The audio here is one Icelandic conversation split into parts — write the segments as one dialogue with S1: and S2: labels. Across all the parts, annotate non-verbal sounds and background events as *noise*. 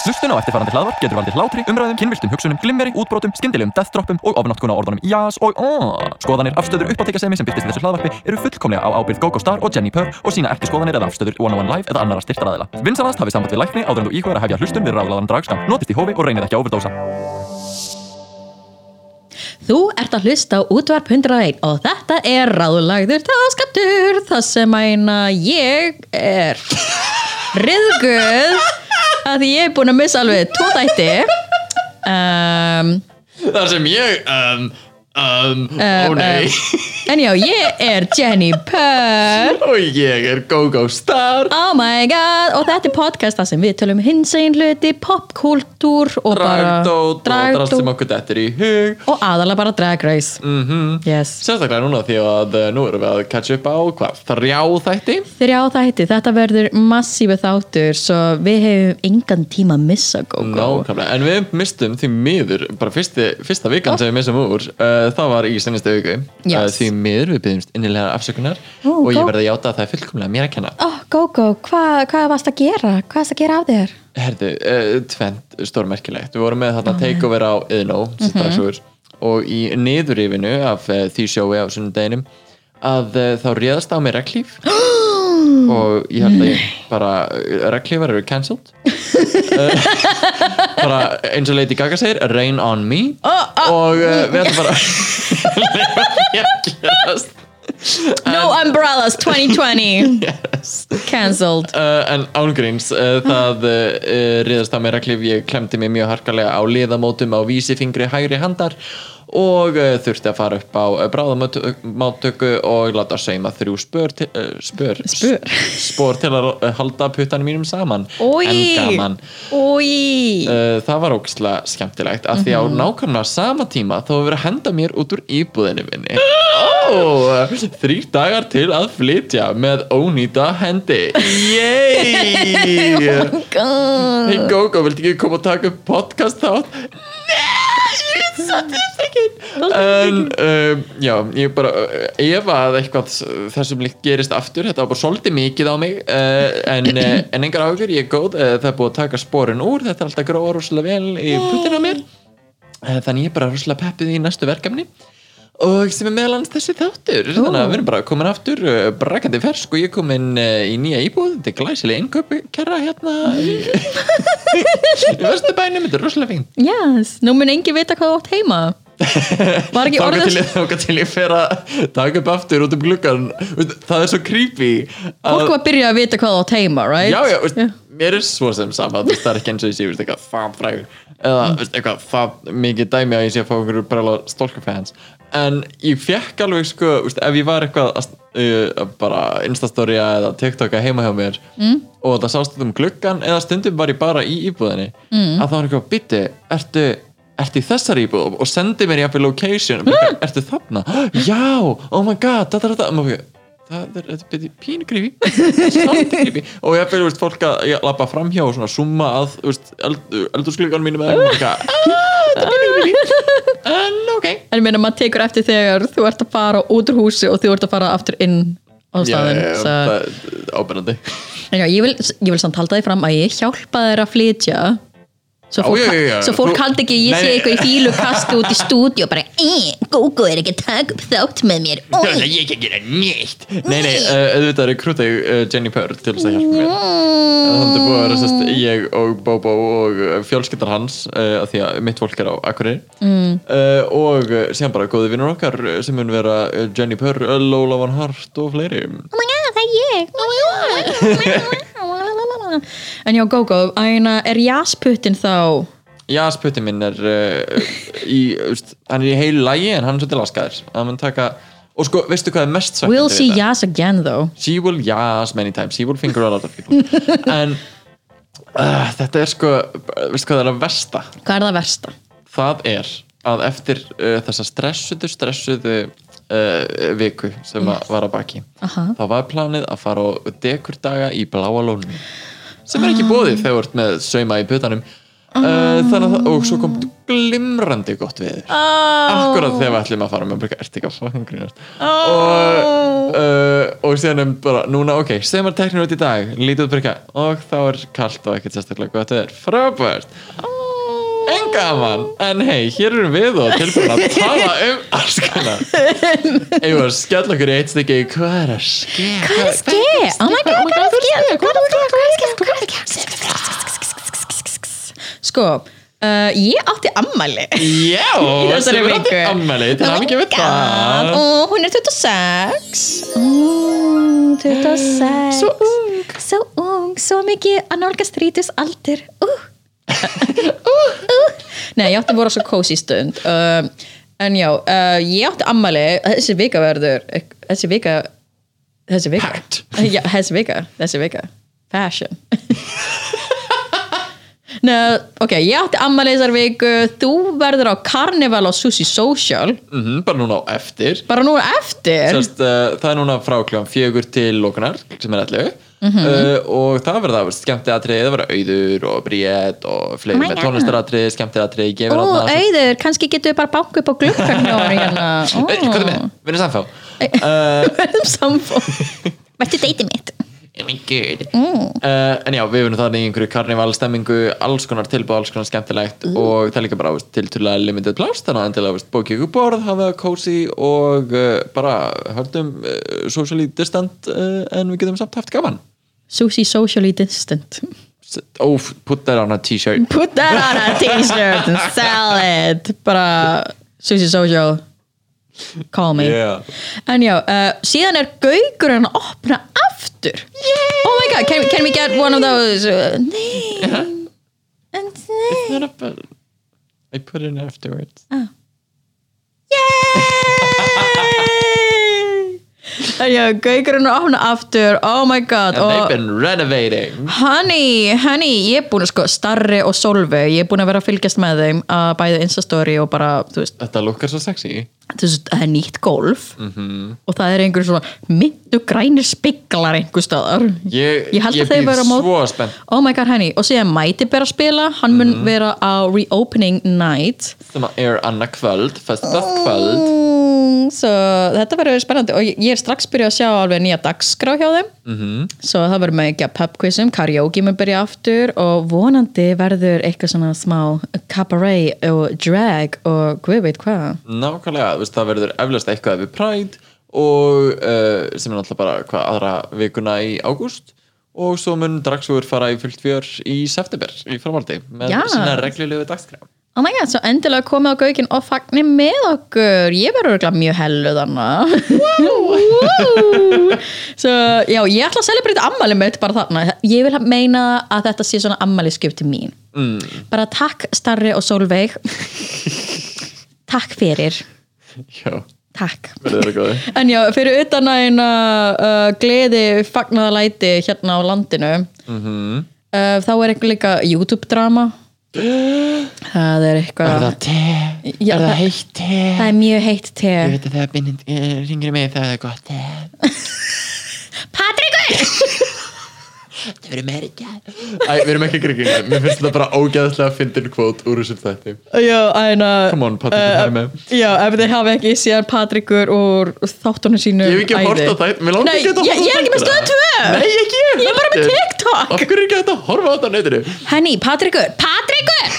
S1: Hlustun á eftirfarandi hlaðvarp getur valdið hlátri, umræðum, kynviltum hugsunum, glimmeri, útbrotum, skyndilegum deathdroppum og ofnotkun á orðunum jás og aaaah. Skoðanir, afstöður, uppáttekasemi sem byrtist í þessu hlaðvarpi eru fullkomlega á ábyrgð GoGo Star og Jenni Purr og sína ekki skoðanir eða afstöður One on One Live eða annara styrtaraðila. Vinsanast hafið samband við lækni áður en þú íhugar að hefja hlustun við ráðlaðan dragskam. Notist í hófi og reynið ekki að overdósa.
S2: Þú ert að hlusta á útvarp 101 og þetta er ráðlagður táskaptur það sem mæna ég er riðguð að því ég er búin að missa alveg tvo þætti um,
S3: Þar sem ég um, um, Ó nei *laughs*
S2: en já, ég er Jenny Purr
S3: Og ég er GoGo Star
S2: oh my god og þetta er podcast það sem við tölum hinsegin hluti popkúltúr og bara
S3: Dragdót og allt sem okkur dettur í hug
S2: og aðalega bara drag race mm
S3: Mhm.
S2: -hmm. yes.
S3: Sérstaklega núna því að eh, nú erum við að catch up á hvað, þrjá þætti
S2: þrjá þætti, þetta verður massífi þáttur svo við hefum engan tíma að missa GóGó
S3: Nákvæmlega, en við mistum því miður bara fyrsti, fyrsta vikan sem við missum úr uh, það var í sennistu viku
S2: Yes.
S3: uh, því miður við byggjumst innilega afsökunar
S2: Ó,
S3: og ég
S2: gó-
S3: verði að játa að það er fullkomlega mér að kenna
S2: Ó, GóGó, hva, hvað varst að gera? Hvað varst að gera af þér?
S3: Herðu, uh, tvent stórmerkilegt Við vorum með þarna takeover á Iðnó sem dagsúr og í niðurrifinu af uh, því sjói á sunnudeginum að uh, þá réðast á mig reglíf og ég held að ég bara reglífar eru cancelled Eh, *laughs* bara eins og Lady Gaga segir rain on me og uh, við ætlum bara *laughs* ég gerast
S2: No Umbrellas
S3: *laughs*
S2: 2020 Cancelled
S3: uh, en ángríns uh, það uh, riðast á mér að klif ég klemdi mig mjög harkalega á liðamótum á vísifingri hægri handar og uh, þurfti að fara upp á uh, bráðamáttöku og láta sauma þrjú spör til, uh, spör,
S2: Spör.
S3: spór til að uh, halda puttanum mínum saman en gaman
S2: Úi *laughs*
S3: Uh, það var ógislega skemmtilegt af því á nákvæmlega sama tíma þá hefur verið að henda mér út úr íbúðinu minni oh, þrý dagar til að flytja með ónýta hendi *laughs* yey
S2: Oh God.
S3: hey Gogo, viltu ekki koma og taka upp podcast þátt en um, já, ég bara uh, ef að eitthvað s- þessum líkt gerist aftur, þetta var bara svolítið mikið á mig uh, en, uh, en engar áhugur ég er góð, uh, það er búið að taka sporin úr þetta er alltaf gróa rosalega vel í putin á mér uh, þannig ég er bara rosalega peppið í næstu verkefni og sem er meðal hans þessi þáttur þannig að við erum bara komin aftur uh, brakandi fersk og ég er komin uh, í nýja íbúð þetta er glæsilega innkaupi kæra hérna í, í Vesturbænum, þetta er rosalega fínt
S2: Yes, nú mun engin vita hvað þú átt heima Var ekki
S3: Þáka
S2: orðið
S3: til, þáka til ég fer að taka upp aftur út um gluggan Veist, Það er svo creepy að,
S2: Fólk var að byrja að vita hvað þú átt heima, right?
S3: Já, já, veist, mér er svo sem sama þú veist, Það er ekki eins og ég sé, veist, eitthvað það frægur Eða, veist, eitthvað það mikið dæmi að ég sé að fá einhverju bara stólka fans En ég fekk alveg, sko, veist, ef ég var eitthvað að, uh, bara instastorya eða tiktoka heima hjá mér mm. Og það sást út um gluggan eða stundum var ég bara í íbúðinni mm. Að það var eitthvað, bytti, ertu ertu í þessari íbúð og sendi mér jafnvel location mm. ertu þarna, *gasps* já, oh my god da, da, da, da. Og maður, það er, þetta er pínu creepy Svolítið *laughs* creepy. og ég fyrir veist, fólk að ég lappa framhjá og svona summa að þú veist, eld, eldursklugan mínu með *laughs* Ah, en ok
S2: En ég meina maður tekur eftir þegar þú ert að fara út úr húsi og þú ert að fara aftur inn á staðin
S3: það er ábennandi
S2: En já, ég vil, ég vil samt halda því fram að ég hjálpa þér að flytja Svo
S3: Já,
S2: fólk,
S3: já, já, já.
S2: Svo fólk
S3: Þú-
S2: haldi ekki að ég
S3: Nei,
S2: sé
S3: nei.
S2: eitthvað í fílu kasta
S3: *laughs*
S2: út í stúdíu og bara "Eh, Gógó er ekki að taka upp þátt með mér
S3: það er
S2: Oj,
S3: ég ekki að gera nýtt nei, nei, uh, auðvitað er krúta uh, Jenny Purr til þess að hjálpa mér Eh, þannig að búið að vera sest, ég og Bobo og uh, fjölskyldar hans uh, af því að mitt fólk er á Akureyri mm. uh, og uh, síðan bara góði vinnur okkar uh, sem mun vera uh, Jenny Purr, uh, Lola Van Hart og fleiri
S2: oh my god, það er ég Oh my god. En já, Gógó, æna, er jasputtin þá
S3: Jasputin minn er uh, í, uh, veist, hann er í heilu lagi en hann er svolítið laskaður hann mun taka, og sko, veistu hvað er mest sagt
S2: We'll see jas again though
S3: She will yas many times, she will finger a lot of people en uh, þetta er sko, veistu hvað er að versta
S2: Hvað er það versta?
S3: það er að eftir uh, þessa stressuðu, stressuðu uh, viku sem yes. var að baki
S2: Aha.
S3: þá var planið að fara á dekurdaga í bláa lónu sem er ekki bóðið þegar þú ert með sauma í putanum uh, þannig að það, og svo kom glimrandi gott veður akkurat þegar við ætlum að fara með bara, ert ekki að fucking grínast og, uh, og síðan um bara núna, ok, sem er teknir út í dag lítið út breyka, og þá er kalt og ekkert sérstaklega gott veður, frábært en gaman en hei, hér erum við og tilbúin að tala um askana eigum við að skella okkur í eitt stykki hvað er að ske? Hvað er að ske?
S2: Yeah, oh my god, Oh hvað er að skilja, hvað er að skilja, hvað er að skilja, hvað er að skilja Sko, uh, ég átti ammæli
S3: Já,
S2: *laughs* Í þessari
S3: Sigurður átti
S2: viku.
S3: ammæli, til
S2: Oh my
S3: að mikið við það
S2: god, Ó, hún er 26 Ó, 26
S3: Svo ung.
S2: Svo ung, svo mikið að nálgast rítis aldur Ú, ú, ú Nei, ég átti að voru svo kósi stund um, En já, uh, ég átti ammæli Þessi vika verður Þessi vika Þessi vika
S3: Packed.
S2: *laughs* Já, þessi vika, þessi vika Fashion *laughs* Nei, ok, ég átti ammæli þessar viku Þú verður á Carnival á Sushi Social
S3: Mhm, bara núna á eftir
S2: Bara núna eftir
S3: Sest, uh, það er núna frá kljóðan fjögur til lókunar sem er allu
S2: Mhm.
S3: uh, og það verða skemmti atrið, það verða auður og bríett og fleiri
S2: Oh my
S3: með
S2: God.
S3: tónlistaratrið, skemmti atrið
S2: Ó,
S3: gefur
S2: eh,
S3: þarna-
S2: auður, kannski getum við bara banka upp á gluggan hjá hann hérna Ó.
S3: *laughs* Hey, hvað er með? Við erum samfá
S2: Eh.
S3: Eh,
S2: Verðum *laughs*
S3: *laughs*
S2: samfó Vertu deiti mitt
S3: uh, En já, við erum þannig í einhverju karnivalstemmingu alls konar tilbúð, alls konar skemmtilegt og það er líka bara veist, tiltölulega limited pláss þannig að endilega veist, bókið ykkur borð, hafa það cozy og uh, bara höldum uh, socially distant uh, en við getum samt haft gaman
S2: Sushi socially distant
S3: Óf, put that on a t-shirt
S2: Put that on a t-shirt and sell it Bara Sushi social Call me
S3: Yeah.
S2: En já, uh, síðan er gaugurinn að opna aftur yeah. Oh my god, can, can we get one of those uh, Name And name
S3: Not a bad- I put it in afterwards
S2: *laughs* En já, gaugurinn að opna aftur Oh my god
S3: And
S2: og-
S3: they've been renovating
S2: Honey, honey, ég er búin að sko starri og solvi, ég er búin að vera að fylgjast með þeim að bæði instastory og bara þú veist,
S3: Þetta lukkar svo sexy
S2: þú veist, það er nýtt golf
S3: Mhm.
S2: -hmm. og það er einhver svona myndu grænir spiklar einhver staðar
S3: Ég,
S2: Ég held að þeir
S3: býð
S2: væru á mót-
S3: svo spennt Mhm.
S2: Oh my god, honey, og síðan mæti ber að spila hann mun vera á reopening night
S3: sem að er annað kvöld, festa kvöld
S2: Mm, Svo þetta verður spennandi og ég- ég er strax byrjuð að sjá alveg nýja dagskrá hjá þeim -hmm.
S3: Mhm.
S2: Svo það verður með ekki að pubquizum, karaoke mun byrja aftur og vonandi verður eitthvað svona smá cabaret og drag og guð veit hvað
S3: Nákvæmlega, þú veist, það verður eflaust eitthvað við Pride og uh, sem er náttúrulega bara hvað aðra vikuna í ágúst og svo mun Dragsúr fara í fullt fjör í september í framhaldi með
S2: Já.
S3: sína reglulegu dagskrá
S2: Oh my god, svo endilega komið á gaukinn og fagnir með okkur. Ég verður örugglega mjög helluð hana. Wow! *laughs* svo, já, ég ætla að celebrate ammali mitt bara þarna. Ég vil meina að þetta sé svona ammali til mín. Mm. Bara takk Starri og Solveig. takk fyrir.
S3: Já,
S2: Takk.
S3: verður það góði
S2: En já, fyrir utan að eina uh, gleði fagnaðalæti hérna á landinu uh, þá er eitthvað líka YouTube-drama. Það er eitthvað...
S3: Er það te?
S2: Já,
S3: er það
S2: það-
S3: heitt te?
S2: Það er mjög heitt te
S3: Ég veit að það bindin, ringir mig það er gott te
S2: Patrikur!
S3: Það verður meiri te Æ, við erum ekki krigingar, mér finnst þetta bara ógæðslega fyndin kvót úr þessum þætti
S2: Já, en að
S3: Come on, Patrik, það er með
S2: Já, ef þið hafi ekki síðan Patrikur úr þáttunum sínu
S3: Ég hef ekki hort á það, mér langar
S2: Nei,
S3: ekki að
S2: ég, ég er ekki með stöð 2
S3: Nei, ekki ég
S2: Ég er bara með
S3: heldur.
S2: TikTok.
S3: Af hverju er ekki hægt að horfa á þetta á netinu?
S2: Henni, Patrikur, Patrikur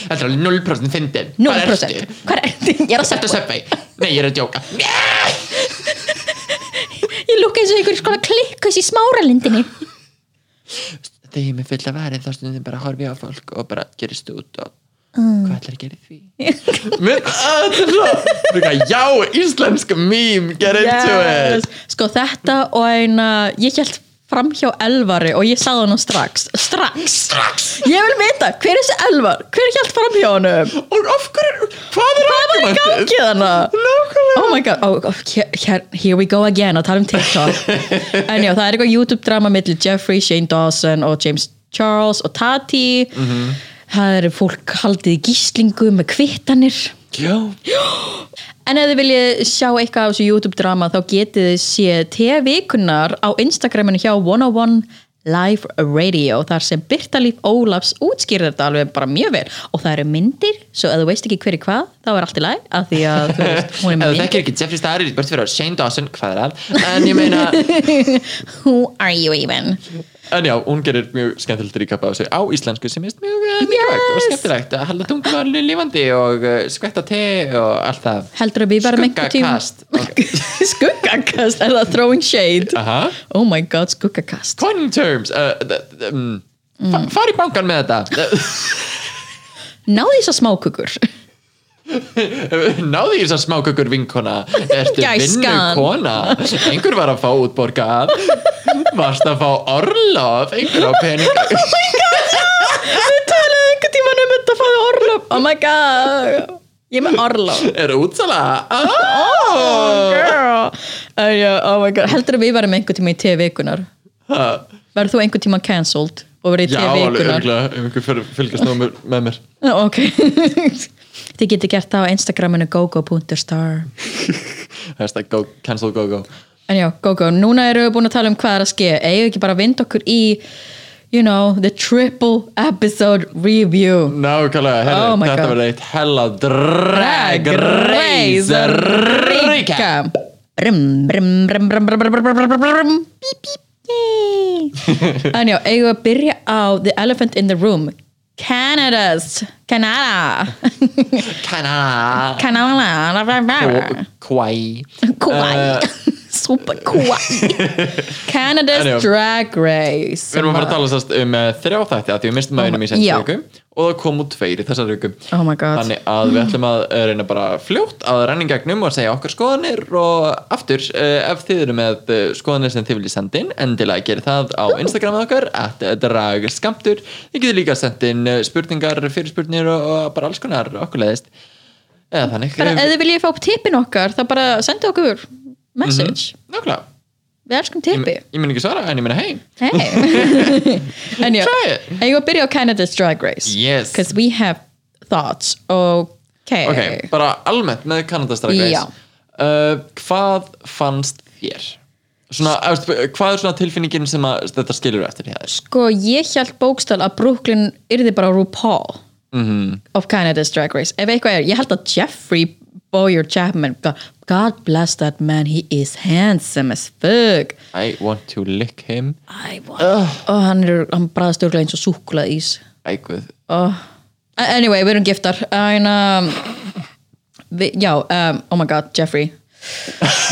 S3: Þetta er alveg 0% fyndin
S2: 0% Hvað er Ég er að
S3: Þetta er
S2: seppa
S3: söpvei Nei, ég er að djóka
S2: Ég lukka eins og einhver skona klikkus í smáralindinni
S3: Þegar ég er með fulla værið þá stundum bara horfi á fólk og bara gerist út og hvað ætlar að gera í því? Mér, að, þetta er svo Líka, Já, íslensk mím, get into it
S2: Sko þetta og eina Ég held fram hjá Elvari og ég sagði hann strax Strax
S3: Strax
S2: Ég vil vita, hver er þessi Elvar? Hver held fram hjá honum?
S3: Og af hverju, hvað er
S2: Hvað var í gangi þannig?
S3: Nákvæmlega
S2: Oh my god, oh, oh, here, here, here we go again að tala um TikTok *laughs* En já, það er eitthvað YouTube-drama millir Jeffrey, Shane Dawson og James Charles og Tati Það eru fólk haldið í gíslingu með kvittanir
S3: Já,
S2: En ef þið viljið sjá eitthvað af þessu YouTube-drama þá getið þið séð TV-vikunar á Instagraminu hjá 101 live radio þar sem Birta Líf Ólafs útskýrir þetta alveg bara mjög vel og það eru myndir, svo ef þú veist ekki hver er hvað þá er allt í læg, af því að þú
S3: *laughs*
S2: veist, hún er
S3: Ef
S2: með
S3: þú
S2: mynd
S3: þekkir ekki Jeffrey Star er bort fyrir að Shane Dawson, hvað er að en ég meina,
S2: Who are you even?
S3: en já, hún gerir mjög skemmtilegt ríkap á sig á íslensku sem er mjög eh, mikilvægt og
S2: Yes.
S3: skemmtilegt að halda tungumálinu lífandi og uh, skvetta te og allt það
S2: Heldur að við varum einhver tíma
S3: Skuggakast.
S2: *laughs*
S3: Ok.
S2: Skuggakast, er það throwing shade?
S3: *laughs* Aha.
S2: Oh my god, skuggakast
S3: Coin terms uh, th- th- um, fa
S2: Mm.
S3: far í bankan með þetta *laughs*
S2: Náði þess að smákukur
S3: náði þess að smákökur vinkona ertu
S2: Gæskan.
S3: vinnukona einhver var að fá útborgað varst að fá orlof einhver á pening
S2: Við talaði einhver tíma um þetta að fáði orlof Oh my god Ég er með orlof
S3: er útsala oh!
S2: Girl uh, yeah, Oh my god Heldur að við varum einhver tíma í TV vikunar
S3: Ha,
S2: Verður þú einhver tíma cancelled og verður í
S3: Ah. já,
S2: TV
S3: alveg
S2: vikunar
S3: örgulega ef einhver fer- fylgist nú með með mér
S2: Ok *laughs* Þið getur gert það á Instagraminu gogo.star
S3: *laughs* hashtag go, cancel go go
S2: En já, gogo, núna erum við búin að tala um hvað er að ske Eigum við ekki bara að vinda okkur í You know, the triple episode review
S3: nákvæmlega, herri,
S2: Oh my
S3: þetta
S2: God.
S3: verður eitt hella drag race ríka
S2: Ríka Brum, brum, brum, brum, brum, brum, brum, brum, brum, brum, brum Bíp, bíp, yay
S3: *laughs*
S2: En já, eigum við að byrja á The Elephant in the Room Canada's *laughs* Canada
S3: kanna
S2: Canada
S3: kvæ
S2: Kauai *laughs* Super Kauai Canada's
S3: Eh. En já.
S2: Drag Race
S3: Við erum að fara að tala sérst um uh, þrjá þætti að því við mistum að einum í senstu
S2: Oh Já.
S3: viku og það kom út tveir í þessari viku
S2: Oh my god.
S3: Þannig að við ætlum að eh, reyna bara fljótt að renna í gegnum og segja okkar skoðanir og aftur uh, ef þið eru með uh, skoðanir sem þið viljið senda inn endilega gera það á Instagramið okkar at dragskamtur Þið getur líka senda inn eh, spurningar, fyrirspurnir og, og bara alls konar okkur leðist eða þannig eh,
S2: Bara ef þið viljið fá upp tippin okkar þá bara sendu okkur message
S3: Nákvæmlega,
S2: Við elskum tippi
S3: ég mun ekki svara en ég mun hei
S2: *laughs* Hey. en já,
S3: Try it.
S2: eigum við að byrja á Canada's Drag Race
S3: Yes.
S2: Because we have thoughts Okay,
S3: Ok, bara almennt með
S2: Eh, Já.
S3: Kanadastrækveis uh, Hvað fannst þér? Svona, eftir, hvað er svona tilfinningin sem að, þetta skilur eftir hér?
S2: Sko, ég held bókstall að Brooklyn yrði bara RuPaul -hmm. of Canada's Drag Race Ef eitthvað er, ég held að Jeffrey Boyer Chapman God, God bless that man, he is handsome as fuck
S3: I want to lick him
S2: I want Og hann, er, hann bræðast örglega eins og súkulað ís
S3: Æguð
S2: Anyway, við erum giftar en, um, vi, Já, um, oh my god, Jeffrey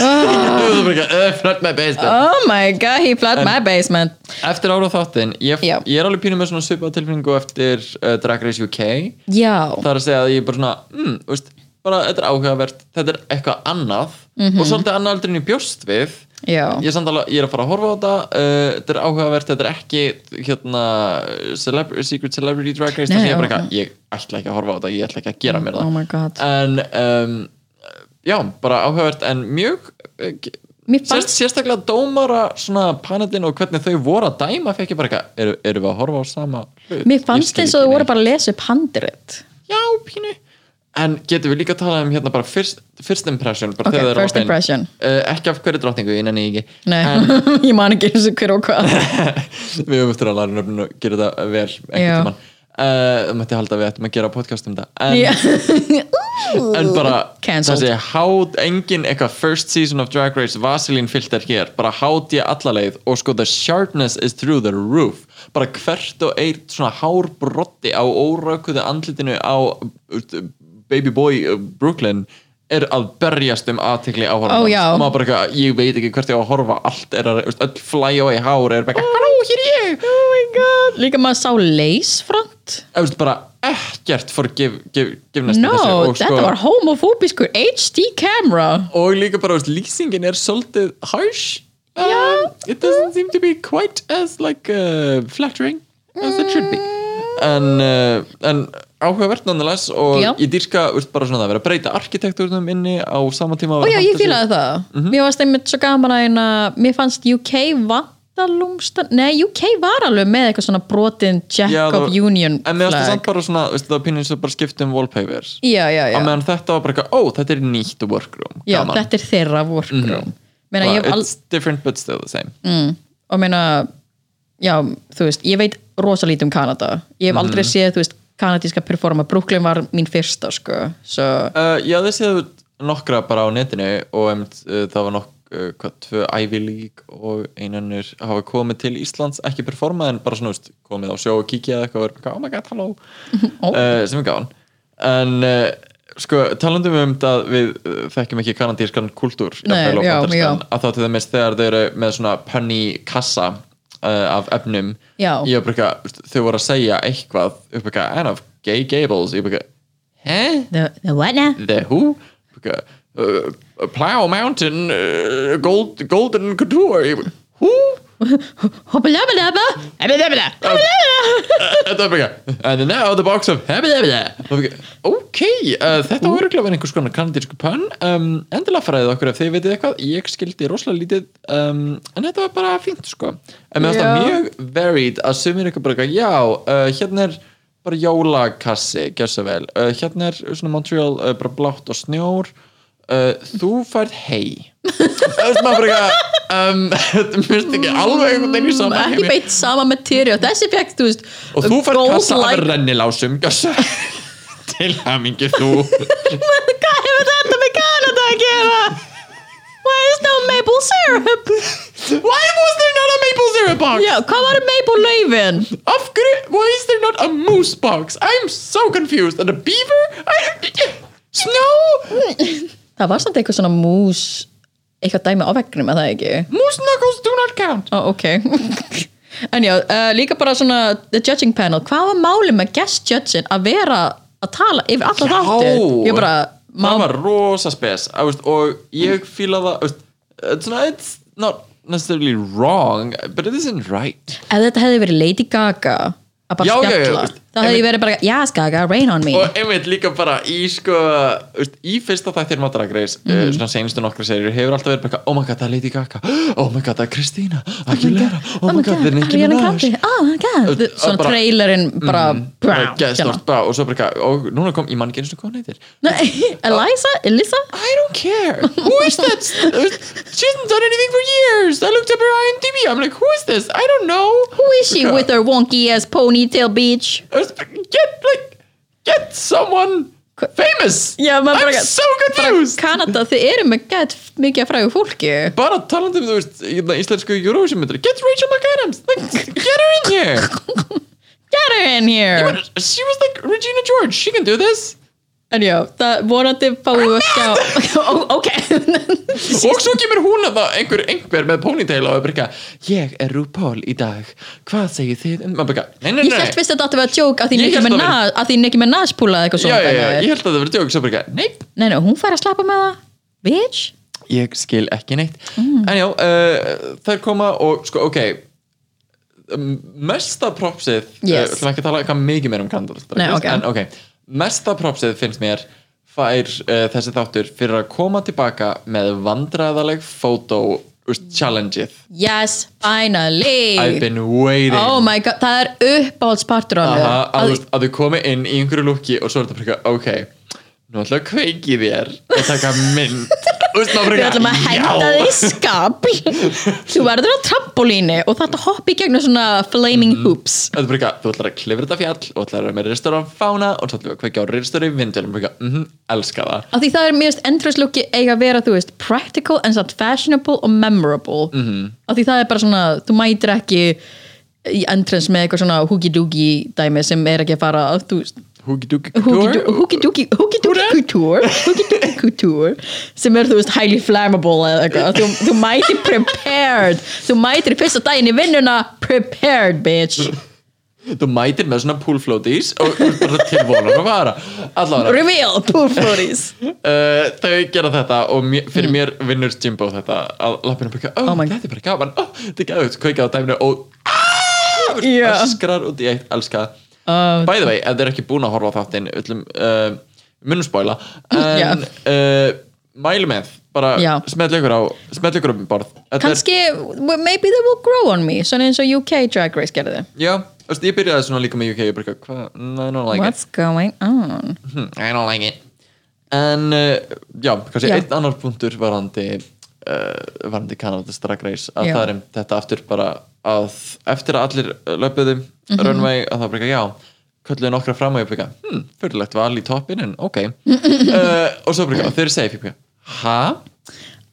S2: Ah.
S3: uh, Not my basement
S2: Oh my god, he flat my basement
S3: Eftir ára þáttinn, ég,
S2: Já.
S3: ég er alveg pínu með svona svipað tilfinningu eftir uh, Drag Race UK
S2: Já,
S3: Það er að segja að ég er bara svona mm, veist, bara þetta er áhugavert, þetta er eitthvað annað og svolítið annað aldrei en ég bjóst við
S2: Mhm. Já.
S3: ég, er samt alveg, ég er að fara að horfa á þetta uh, þetta er áhugavert, þetta er ekki hérna, celebr Secret Celebrity Drag Race
S2: Nei,
S3: þannig ég er bara
S2: já.
S3: eitthvað, ég ætla ekki að horfa á þetta ég ætla ekki að gera mér það
S2: Oh my God.
S3: en um, já, bara áhugavert en mjög uh, ge-
S2: Mér fannst-
S3: Sérst, sérstaklega dómara svona panelin og hvernig þau voru að dæma fekk ég bara eitthvað, eru, eru við að horfa á sama hlut?
S2: mér
S3: Ég
S2: fannst
S3: skil
S2: eins og
S3: ekki
S2: þau
S3: neitt
S2: voru bara að lesa upp handrit
S3: já, pínu en getum við líka að tala um hérna bara first, first impression bara
S2: Ok,
S3: þegar þeir eru
S2: first
S3: opin.
S2: impression.
S3: uh, ekki af hverju drottningu, ég nenni því ekki
S2: Nei, *laughs*
S3: en
S2: ég man ekki eins og hver og hvað
S3: við höfum eftir að læra nöfnum og gera þetta vel einhvern
S2: Já.
S3: tímann uh, mætti halda að við ættum að gera podcast um það
S2: *laughs*
S3: en,
S2: Já.
S3: en bara
S2: Cancelled.
S3: þessi hát engin eitthvað first season of Drag Race Vaseline filter hér, bara hát ég alla leið og sko the sharpness is through the roof bara hvert og eitt svona hár brotti á óraukuðu andlitinu á uh, baby boy uh, Brooklyn er að berjast um aðtekli áhorfans
S2: Ó, já.
S3: maður bara eitthvað, ég veit ekki hvert ég á að horfa allt er að, veist, öll flæja og ég hár er bara, eitthvað, halló, hér er ég oh my god
S2: Líka maður sá leysfront
S3: Þú veist bara ekkert forgiveness
S2: No,
S3: sko,
S2: þetta var homofóbiskur HD camera
S3: og líka bara, veist, lýsingin er svolítið harsh Um,
S2: Já.
S3: It doesn't seem to be quite as like uh, flattering as it should be En, uh, en áhugavert nonetheless og
S2: Mm. Já.
S3: ég dýrka veist, bara svona það að vera að breyta arkitekturnum inni á sama tíma að
S2: Og já,
S3: vera að
S2: ég
S3: halda sig-
S2: fílaði það
S3: Mhm.
S2: Mér fannst einmitt svo gaman að eina Mér fannst UK vantalungsta Nei, UK var alveg með eitthvað svona brotin Jack
S3: Já, það
S2: of
S3: var-
S2: Union
S3: En mér varstu samt
S2: flag
S3: bara svona, veist, það var pínins að bara skipta um wallpapers
S2: Já, já, já
S3: Á meðan þetta var bara eitthvað, ó, þetta er nýtt workroom
S2: Já,
S3: Gaman. Mhm.
S2: þetta er þeirra workroom mm
S3: Bara,
S2: ég hef al-
S3: It's different but still the same
S2: og meina já, þú veist, ég veit rosalítið um Kanada ég
S3: Mhm.
S2: hef aldrei séð, þú veist, kanadíska performa Brooklyn var mín fyrsta, sko so,
S3: Uh, já, þið séðu nokkra bara á netinu og um, uh, það var nokk uh, hvað, tvö Ivy League og einanur hafa komið til Íslands, ekki performað en bara svona, veist, komið á sjó og kíkja eða eitthvað og verið eitthvað, oh my god,
S2: *laughs*
S3: hello
S2: Ó.
S3: uh, sem er gáðan en uh, sko, talandum um það við uh, þekkjum ekki kanadískan kultúr
S2: Nei,
S3: jafnvel og
S2: já,
S3: bandarískan,
S2: já.
S3: að þá til þess þegar þau eru með svona penny kassa uh, af efnum
S2: Já.
S3: ég var bara eitthvað, þau voru að segja eitthvað upp eitthvað, en of Gay Gables ég bara eitthvað, hæ?
S2: the, the what now?
S3: The Who uh, uh, Plow Mountain uh, gold, Golden Couture Who?
S2: Hoppalabba
S3: Oh, Þetta er bara ekki, And now the box of Ok, uh, þetta var örgulega verið einhvers konar kanadísku pönn um, endilega fræðið okkur ef þið veitir eitthvað ég skildi rosalega lítið um, en þetta var bara fínt sko en mér finnst það
S2: Já.
S3: mjög varied að sumir eitthvað bara eitthvað, já, uh, hérna er bara jólakassi, gerð svo vel uh, hérna er svona Montreal uh, bara blátt og snjór uh, þú færð hei Það veist maður bara eitthvað um, *laughs* þetta myrst ekki alveg einhvern veginn í saman
S2: ekki beint sama materiál þessi fekk, þú veist
S3: og þú fær
S2: gold
S3: kassa af
S2: light-
S3: rennilásum kassa *laughs* til hamingi þú
S2: hvað hefur þetta með Kanada að gera? why is no maple syrup?
S3: why was there not a maple syrup box
S2: já, hvað var maple laufin?
S3: of hverju, why is there not a moose box I'm so confused and a beaver I, snow
S2: það var samt eitthvað svona mús eitthvað dæmi á vegnum að það ekki
S3: moose knuckles do not count
S2: Ó, ok *laughs* En já, uh, líka bara svona the judging panel, hvað var málið með guest judging að vera að tala yfir alla
S3: Já.
S2: þáttir? Ég bara, má,
S3: það var rosa spes að, veist, og ég fíla það að, veist, it's not, it's not necessarily wrong but it isn't right
S2: ef þetta hefði verið Lady Gaga að bara
S3: Já, já, já,
S2: spjalla,
S3: veist,
S2: þá hefði ég verið bara, yes Gaga, rain on me
S3: og einmitt líka bara í sko veist, í fyrsta þættir Drag Race mm.
S2: Mhm.
S3: svona senstu nokkra serjur hefur alltaf verið bara eitthvað, oh my god það er Lady Gaga oh my god það er Kristína Aguilera oh my god það er Nicki
S2: Ariana
S3: Minaj
S2: Grande, oh my god
S3: Veist,
S2: Svona
S3: að bara- Mm,
S2: trailerinn bara brá, hérna.
S3: Geðstort, bara, og svo bara eitthvað, og núna kom ég mann ekki eins og hvað hann heitir
S2: Nei, *laughs* Eliza, Elisa
S3: I don't care, who is
S2: *laughs*
S3: that she hasn't done anything for years I looked up her IMDb, I'm like who is this I don't know
S2: Who is she with her wonky ass ponytail beach?
S3: get like get someone famous
S2: Já, maður bara
S3: I'm so confused
S2: Kanada, þið eru með gett mikið að frægu fólki
S3: bara talandi um þú veist hérna, íslensku Eurovision myndari get Rachel McAdams like, get her in here
S2: Get her in here
S3: she was like Regina George she can do this
S2: En já, það vonandi fáum
S3: Ah,
S2: við að sjá *laughs* Ó, Ok
S3: og svo kemur hún að það einhver, einhver með ponytail og er bara eitthvað ég er RuPaul í dag hvað segir þið um maður bara eitthvað, nei nei
S2: Ég held
S3: nei
S2: fyrst að þetta átti að vera joke að því
S3: Ég
S2: Nicki
S3: hélt það
S2: Minaj- að því Nicki Minaj púlaði eitthvað
S3: já
S2: svona
S3: já já
S2: dæmi.
S3: ég held að það verið djók svo bara eitthvað nei
S2: Nei, nei, hún fær að slappa með það Bitch
S3: ég skil ekki neitt
S2: Mm.
S3: en já uh, þær koma og sko ok um, mesta propsið
S2: Yes.
S3: uh, ætlum ekki að tala eitthvað mikið meir um Kandals
S2: Nei, ok.
S3: en ok, mesta propsið finnst mér fær uh, þessi þáttur fyrir að koma tilbaka með vandræðaleg fótó úst, challengeið
S2: Yes,
S3: I've
S2: finally
S3: been waiting
S2: Oh my god, það er uppáhaldspartur á
S3: Aha, að,
S2: mér
S3: að, að þau komi inn í einhverju lukki og svo er þetta bara eitthvað, ok nú ætla að kveiki þér og taka
S2: *laughs*
S3: mynd Úst,
S2: Við ætlum að henda þig í
S3: *laughs*
S2: skap Þú verður á trampolíni og þetta hoppi í gegnum svona flaming hoops
S3: Þetta er bara eitthvað, þú ætlar að klifra þetta fjall og ætlar að vera með reistur á fána og svo ætlar við að kveikja á reistur í vindunum og bara eitthvað, mhm, elska það
S2: Af því það er mjög endurslukki eiga að vera, þú veist, practical en samt fashionable og memorable. Mm -hmm. Af því það er bara svona, þú mætir ekki í entrance með eitthvað svona hoogie-doogie dæmi sem er ekki að fara að, þú veist,
S3: Hoogie-doogie
S2: hoogie-doo-
S3: couture
S2: hoogie-doogie hoogie-doogie couture hoogie-doogie couture sem er, þú veist, highly flammable eða eitthvað. Þú, þú mætir prepared. Þú mætir í fyrsta daginn í vinnuna prepared, bitch.
S3: Þú mætir með svona pool floaties og og bara til vonar að vara Allavega,
S2: Reveal, poor floaties.
S3: uh, þau gera þetta og mér, fyrir mér vinnur Jimbo þetta að lappinu bara, eitthvað, ó,
S2: Mm. Oh my-
S3: þetta er bara gaman ó, þetta er gaman, kveikja á dæminu og
S2: Já.
S3: öskrar út í eitt, elska það
S2: Uh,
S3: By the way, ef þið er ekki búin að horfa á þáttin öllum, uh, munum spoila en
S2: Já.
S3: uh, mælu með bara
S2: Já.
S3: smetla ykkur á smetla ykkur um borð Þetta er-
S2: kannski, well, maybe they will grow on me svona eins og UK Drag Race gerði
S3: Já, þú veist, ég byrjaði svona líka með UK ég byrjaði, hvað, I don't like
S2: what's going on
S3: it I don't like it En uh, já, kannski
S2: Já.
S3: eitt annar punktur varandi uh, varandi Canada's Drag Race að
S2: Já.
S3: það er um þetta aftur bara að eftir að allir löpuðu
S2: Mhm.
S3: runway að það bara ekki, já kölluðu nokkra fram og ég byrja hm, fyrirlegt val í toppin en ok
S2: *laughs*
S3: uh, og svo byrja, þau eru safe ég byrja, ha?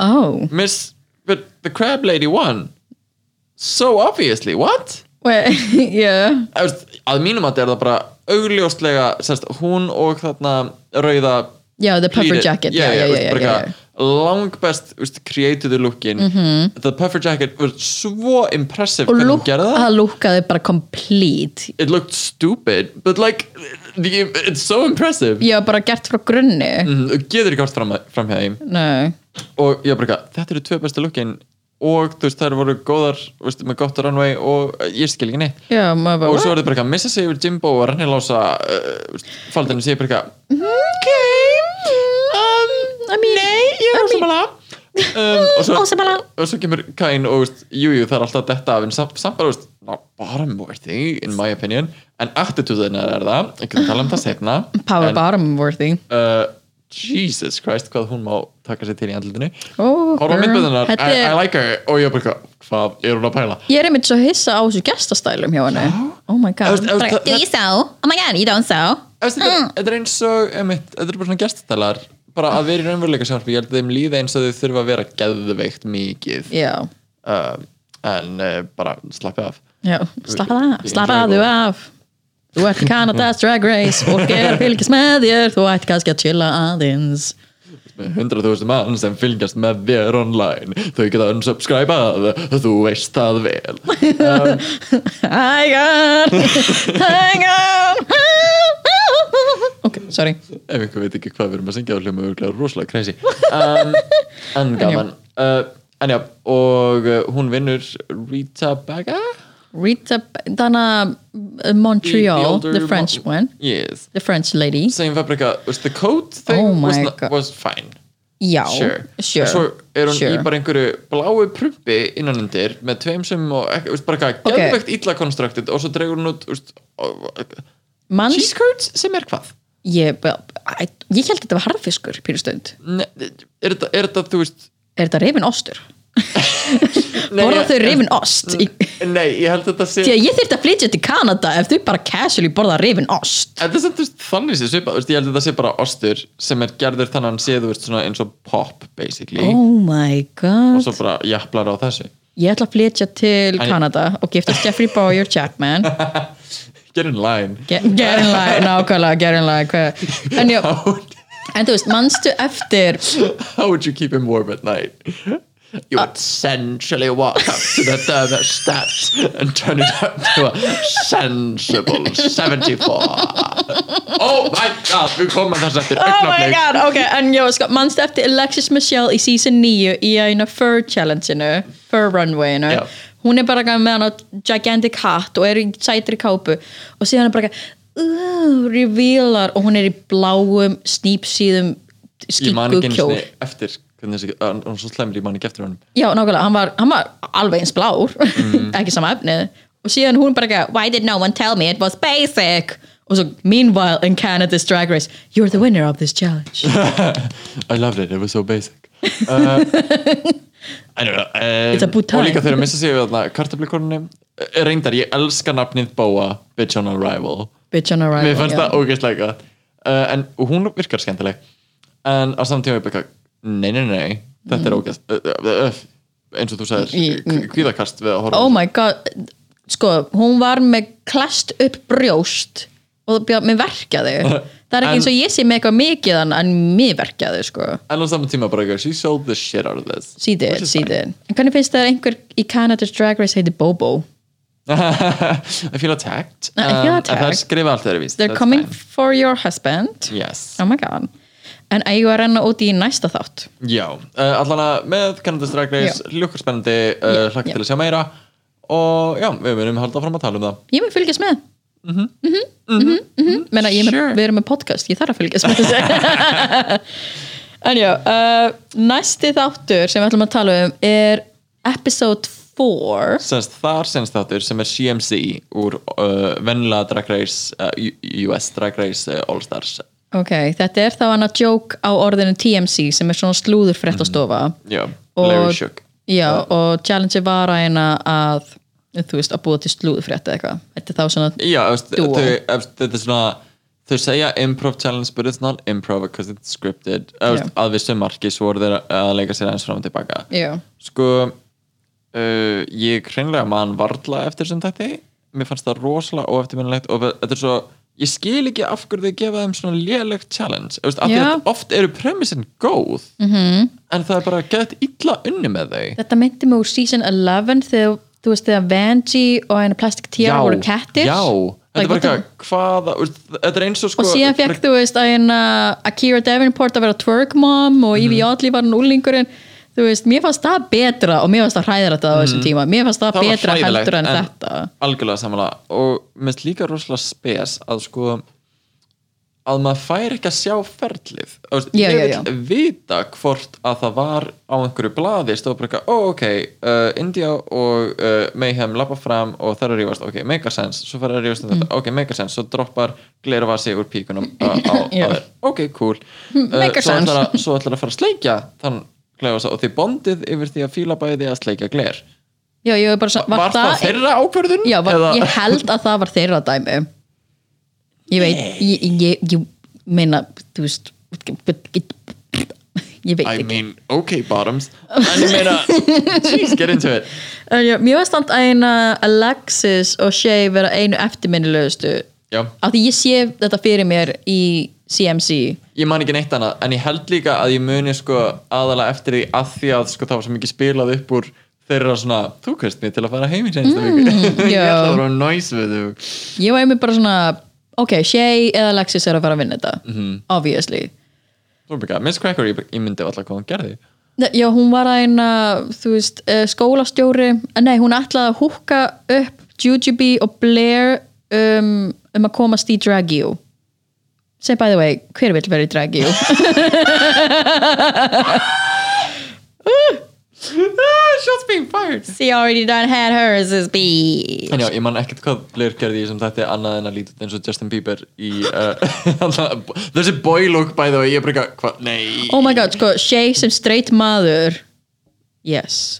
S2: Oh,
S3: Miss, but the crab lady won so obviously, what?
S2: well, *laughs* yeah.
S3: Þú veist, að mínum að þetta er það bara augljóslega sérst, hún og þarna rauða
S2: Já, the puffer
S3: pleated-
S2: jacket, já,
S3: já, já,
S2: já,
S3: þú veist,
S2: já,
S3: bara
S2: já,
S3: eitthvað langbest þú veist, created lookin mm
S2: Mm-hmm.
S3: -hmm. the puffer jacket var svo impressive
S2: Og
S3: hvernig hún
S2: lúk,
S3: gerði það Mm.
S2: það lúkaði bara complete
S3: it looked stupid but like the, it's so impressive
S2: Já, bara gert frá grunni
S3: Mhm, og getur ekki átt fram, framhjá þeim
S2: Nei,
S3: og ég bara eitthvað, þetta eru tvö bestu lookin og þú veist þær voru góðar þú veist, með gott runway og eh, ég skil ekki neitt
S2: já, maður bara
S3: og svo er þetta bara eitthvað missa sig yfir Jimbo og rannir lása uh, faldinu sig bara eitthvað ok um,
S2: "Mm, I mean, mm,
S3: nei, ég er ósamála um, og, svo-
S2: Ósammála.
S3: og svo kemur Kain og veist, jú, jú, það er alltaf þetta af en samt, samt bara, veist, not bottom worthy in my opinion, en attitúðinar er það ég getur tala um það setna
S2: *laughs* Power
S3: en,
S2: bottom worthy
S3: uh, Jesus Christ, hvað hún má taka sér til í andlutinu
S2: Ó,
S3: horfa á
S2: Oh, girl.
S3: myndböðunar,
S2: Þetta
S3: I, I
S2: er-
S3: like her og ég bara, eitthvað, hvað er hún að pæla
S2: Ég er einmitt svo hissa á þessu gestastælum hjá henni Oh my god
S3: Þú veist, þú veist,
S2: Bara,
S3: það-
S2: Do you sell? Oh my god, you don't sell
S3: Þú veist, Þetta
S2: Mm.
S3: þetta er eins og einmitt, þetta er bara svona gestatalar bara að vera í raunveruleika sjónvarpi, ég held að þeim líða eins og þau þurfa að vera geðveikt mikið
S2: Já,
S3: uh, en uh, bara slappið af
S2: já, slappa það af
S3: Ég-
S2: Slappaðu
S3: ég-
S2: af Þú ert Canada's Drag Race Fólk er að fylgjast með þér Þú ætti kannski að chilla aðeins
S3: Með 100.000 mann sem fylgjast með þér online, þau geta unsubscribað þú veist það vel
S2: Hang on Hang on Ok, sorry
S3: ef einhver veit ekki hvað við erum að syngja á hljóma örgulega rosalega crazy um, en gaman uh, en já, og uh, hún vinnur Rita Baga
S2: Rita Dana uh,
S3: The-
S2: Montreal
S3: older
S2: the, French
S3: mo-
S2: one
S3: yes
S2: the French lady
S3: same fabrica was the coat thing
S2: Oh
S3: was,
S2: my
S3: not,
S2: God.
S3: was fine
S2: Já,
S3: sure,
S2: sure,
S3: svo er hún
S2: sure.
S3: í bara einhverju bláu prumpi innanundir með tveim sem og ekki, veist, bara eitthvað
S2: Ok.
S3: okay. geðvegt illa constructed og svo dregur hún út veist,
S2: Manns,
S3: cheese curds sem er hvað
S2: ég, ég, ég held að þetta var harfiskur pínustönd,
S3: Ne, er þetta, er þetta, þú veist
S2: er þetta reyfin ostur?
S3: nei,
S2: Borða
S3: ég-
S2: þau reyfin ost? Í-
S3: nei, ég held að þetta sé
S2: Því að ég þyrfti að flytja til Kanada ef þau bara casually borða reyfin ost
S3: En það er samt, þú veist, þannig sé svipað, þú veist, ég held að það sé bara ostur sem er gerður þannig að hann sé, þú veist, svona eins og pop, basically,
S2: Oh my
S3: og
S2: god
S3: svo bara jafnlar á þessu.
S2: Ég ætla að flytja til
S3: En-
S2: Kanada og giftast Jeffrey Bowyer Chapman
S3: Get in line.
S2: Get, get in line, nákvæmlega, get in line hva- en, já,
S3: How *laughs* would,
S2: en þú veist, manstu eftir
S3: how would you keep him warm at night? You
S2: Uh,
S3: would essentially walk up to the thermostat and turn it up to a sensible 74. Oh my god, við komum að þessu eftir
S2: Oh my
S3: augnablik.
S2: god, ok, en já, sko, mannstu eftir Alexis Michelle í season 9 í einu fur challenge-inu, fur runway-inu
S3: Já.
S2: hún er bara eitthvað með hann á gigantic hat og er í sætri kápu og síðan er bara eitthvað, uh, revealar og hún er í bláum snýpsíðum
S3: Ég man ekki
S2: skikku
S3: einu
S2: kjól
S3: sinni eftir, hvernig þessi, hann hann er svo slemur, ég man ekki eftir honum.
S2: já, nákvæmlega, hann var, hann var alveg eins blár *laughs*
S3: Mm.
S2: ekki sama efnið og síðan hún bara eitthvað, why did no one tell me it was basic og svo, meanwhile in Canada's Drag Race you're the winner of this
S3: *laughs*
S2: challenge
S3: I loved it, it was so basic uh, *laughs* I don't know uh,
S2: It's a boot
S3: Og líka
S2: time.
S3: þegar að missa sig við þarna kartablikorninu Reyndar, ég elska nafnið Bóa Bitch on Arrival
S2: bitch on arrival
S3: Mér fannst
S2: já.
S3: það ógeðslega gott. uh, En og hún virkar skemmtileg En á samtíma ég byrja Nei, nei, nei, þetta er ógeðs uh, uh, uh, Eins og þú
S2: Mm. Í-
S3: sagðir Kvíðakast við að horfa
S2: oh my god sko, hún var með klast upp brjóst og bjá- mér
S3: *laughs*
S2: verkjaði það er ekki
S3: En-
S2: eins og ég sé með eitthvað mikið en, en mér verkjaði sko
S3: En á samtíma bara eitthvað She sold the shit out of this
S2: she did, she did en hvernig finnst það að einhver í Canada's Drag Race heiti Bobo
S3: I feel attacked
S2: I feel
S3: Um, en Það
S2: attacked.
S3: er skrifa allt öðruvísi,
S2: they're
S3: that's
S2: coming
S3: fine.
S2: for your husband
S3: Yes
S2: oh my god en eigu að renna út í næsta þátt
S3: Já, uh, allan að með Canada's Drag Race, ljókar spennandi uh,
S2: Já,
S3: hlakka
S2: já.
S3: til að sjá meira og já, við munum halda fram að tala um það
S2: ég mun fylgjast með Mhm, mhm, mhm, mhm. Meina, ég er með-
S3: Sure.
S2: við erum með podcast, ég þarf að fylgjast með þessu *laughs* en já uh, næsti þáttur sem við ætlum að tala um er episode 4
S3: Senst þar senst þáttur sem er CMC úr uh, venla Drag Race uh, U- US Drag Race uh, All Stars
S2: ok, þetta er þá hann að joke á orðinu TMC sem er svona slúður fréttastofa
S3: Já, Larry
S2: og,
S3: Shook
S2: Mhm. já, og challenge var að eina að þú veist, að búa til slúðfrétt eða eitthvað þetta er þá svona,
S3: Já, efst,
S2: Duo.
S3: þau, efst, þetta er svona þau segja improv challenge but it's not improv because it's scripted efst,
S2: Já.
S3: að vissu marki svo voru þeir að leika sér eins fram og tilbaka
S2: já,
S3: sko uh, ég hreinlega man varla eftir sem þetta mér fannst það rosalega óeftirminnilegt og þetta er svo ég skil ekki af hverju þau gefa þeim svona lélegt challenge efst, af því
S2: Já. Mhm.
S3: að oft eru premissin góð -hmm. en það er bara gett illa unni með þau
S2: þetta myndi mig úr season 11 þegar, þú veist, þegar Vanji og eina plastic tiara voru kettir
S3: já, þetta
S2: Like,
S3: er bara
S2: what the-
S3: eitthvað hvaða, þú veist, þetta er eins og sko
S2: og síðan fekk þú veist að hérna Akira Davenport að vera twerk mom og
S3: Mhm.
S2: Evie Oddly var hann úlingurinn þú veist, mér fannst það betra og mér fannst það hræðir þetta á þessum tíma, mér fannst það,
S3: Mhm. það var
S2: betra
S3: hræðilegt,
S2: heldur en,
S3: en-
S2: þetta
S3: algjörlega samanlega og mér finnst líka rosalega spes að sko að maður fær ekki að sjá ferlið Þú veist,
S2: Já,
S3: ég
S2: já,
S3: vil
S2: já.
S3: vita hvort að það var á einhverju blaði stóð bara eitthvað, ó ok, uh, India og uh, Mayhem lappa fram og það er að rífast, ok, make a sense svo fara að rífast
S2: Mm.
S3: um þetta, ok, make a sense, svo droppar glervasi úr píkunum uh, á, á
S2: Já. Mm,
S3: þér, ok, cool Uh,
S2: make a
S3: svo,
S2: sense.
S3: ætlar að, svo ætlar að fara að sleikja þann glervasa og þið bondið yfir því að fíla bæði að sleikja gler
S2: já, ég var bara svona,
S3: var, það, þeirra ákvörðun?
S2: já, var,
S3: Eða-
S2: ég held að það var þeirra dæmi ég veit ég, ég, ég meina, þú veist ég veit
S3: I
S2: ekki
S3: mean, ok bottoms en ég meina, *laughs* jeez, get into it
S2: En já, mér var stand að eina eh, Alexis og Shay vera einu eftirminnilegustu
S3: já,
S2: af því ég sé þetta fyrir mér í CMC
S3: ég man ekki neitt annað en ég held líka að ég muni sko aðalega eftir því að því að sko það var svo mikið spilað upp úr þeirra svona, þú kveist mér til að fara heim í senstu viku *laughs* ég
S2: já.
S3: ætla að vera næs við þú
S2: ég var einmitt bara svona ok, Shay eða Alexis er að fara að vinna þetta obviously
S3: Þú er bara, Miss Cracker, ég, ég myndi alltaf hvað hún gerði
S2: Ne- já, hún var að eina, þú veist, eh, skólastjóri Eh, nei, hún ætlaði að húkka upp Jujubee og Blair um, um að komast í Dragio say by the way, hver vill vera í Dragio?
S3: Ah, Shots being fired
S2: *laughs* she already done had hers is B
S3: En já, ég man ekkert hvað Blair gerði í sem þetta annað en að líta út eins og Justin Bieber í uh, *laughs* þessi boy look by the way, ég er bara eitthvað, hvað, nei
S2: oh my god, sko, Shay sem straight maður yes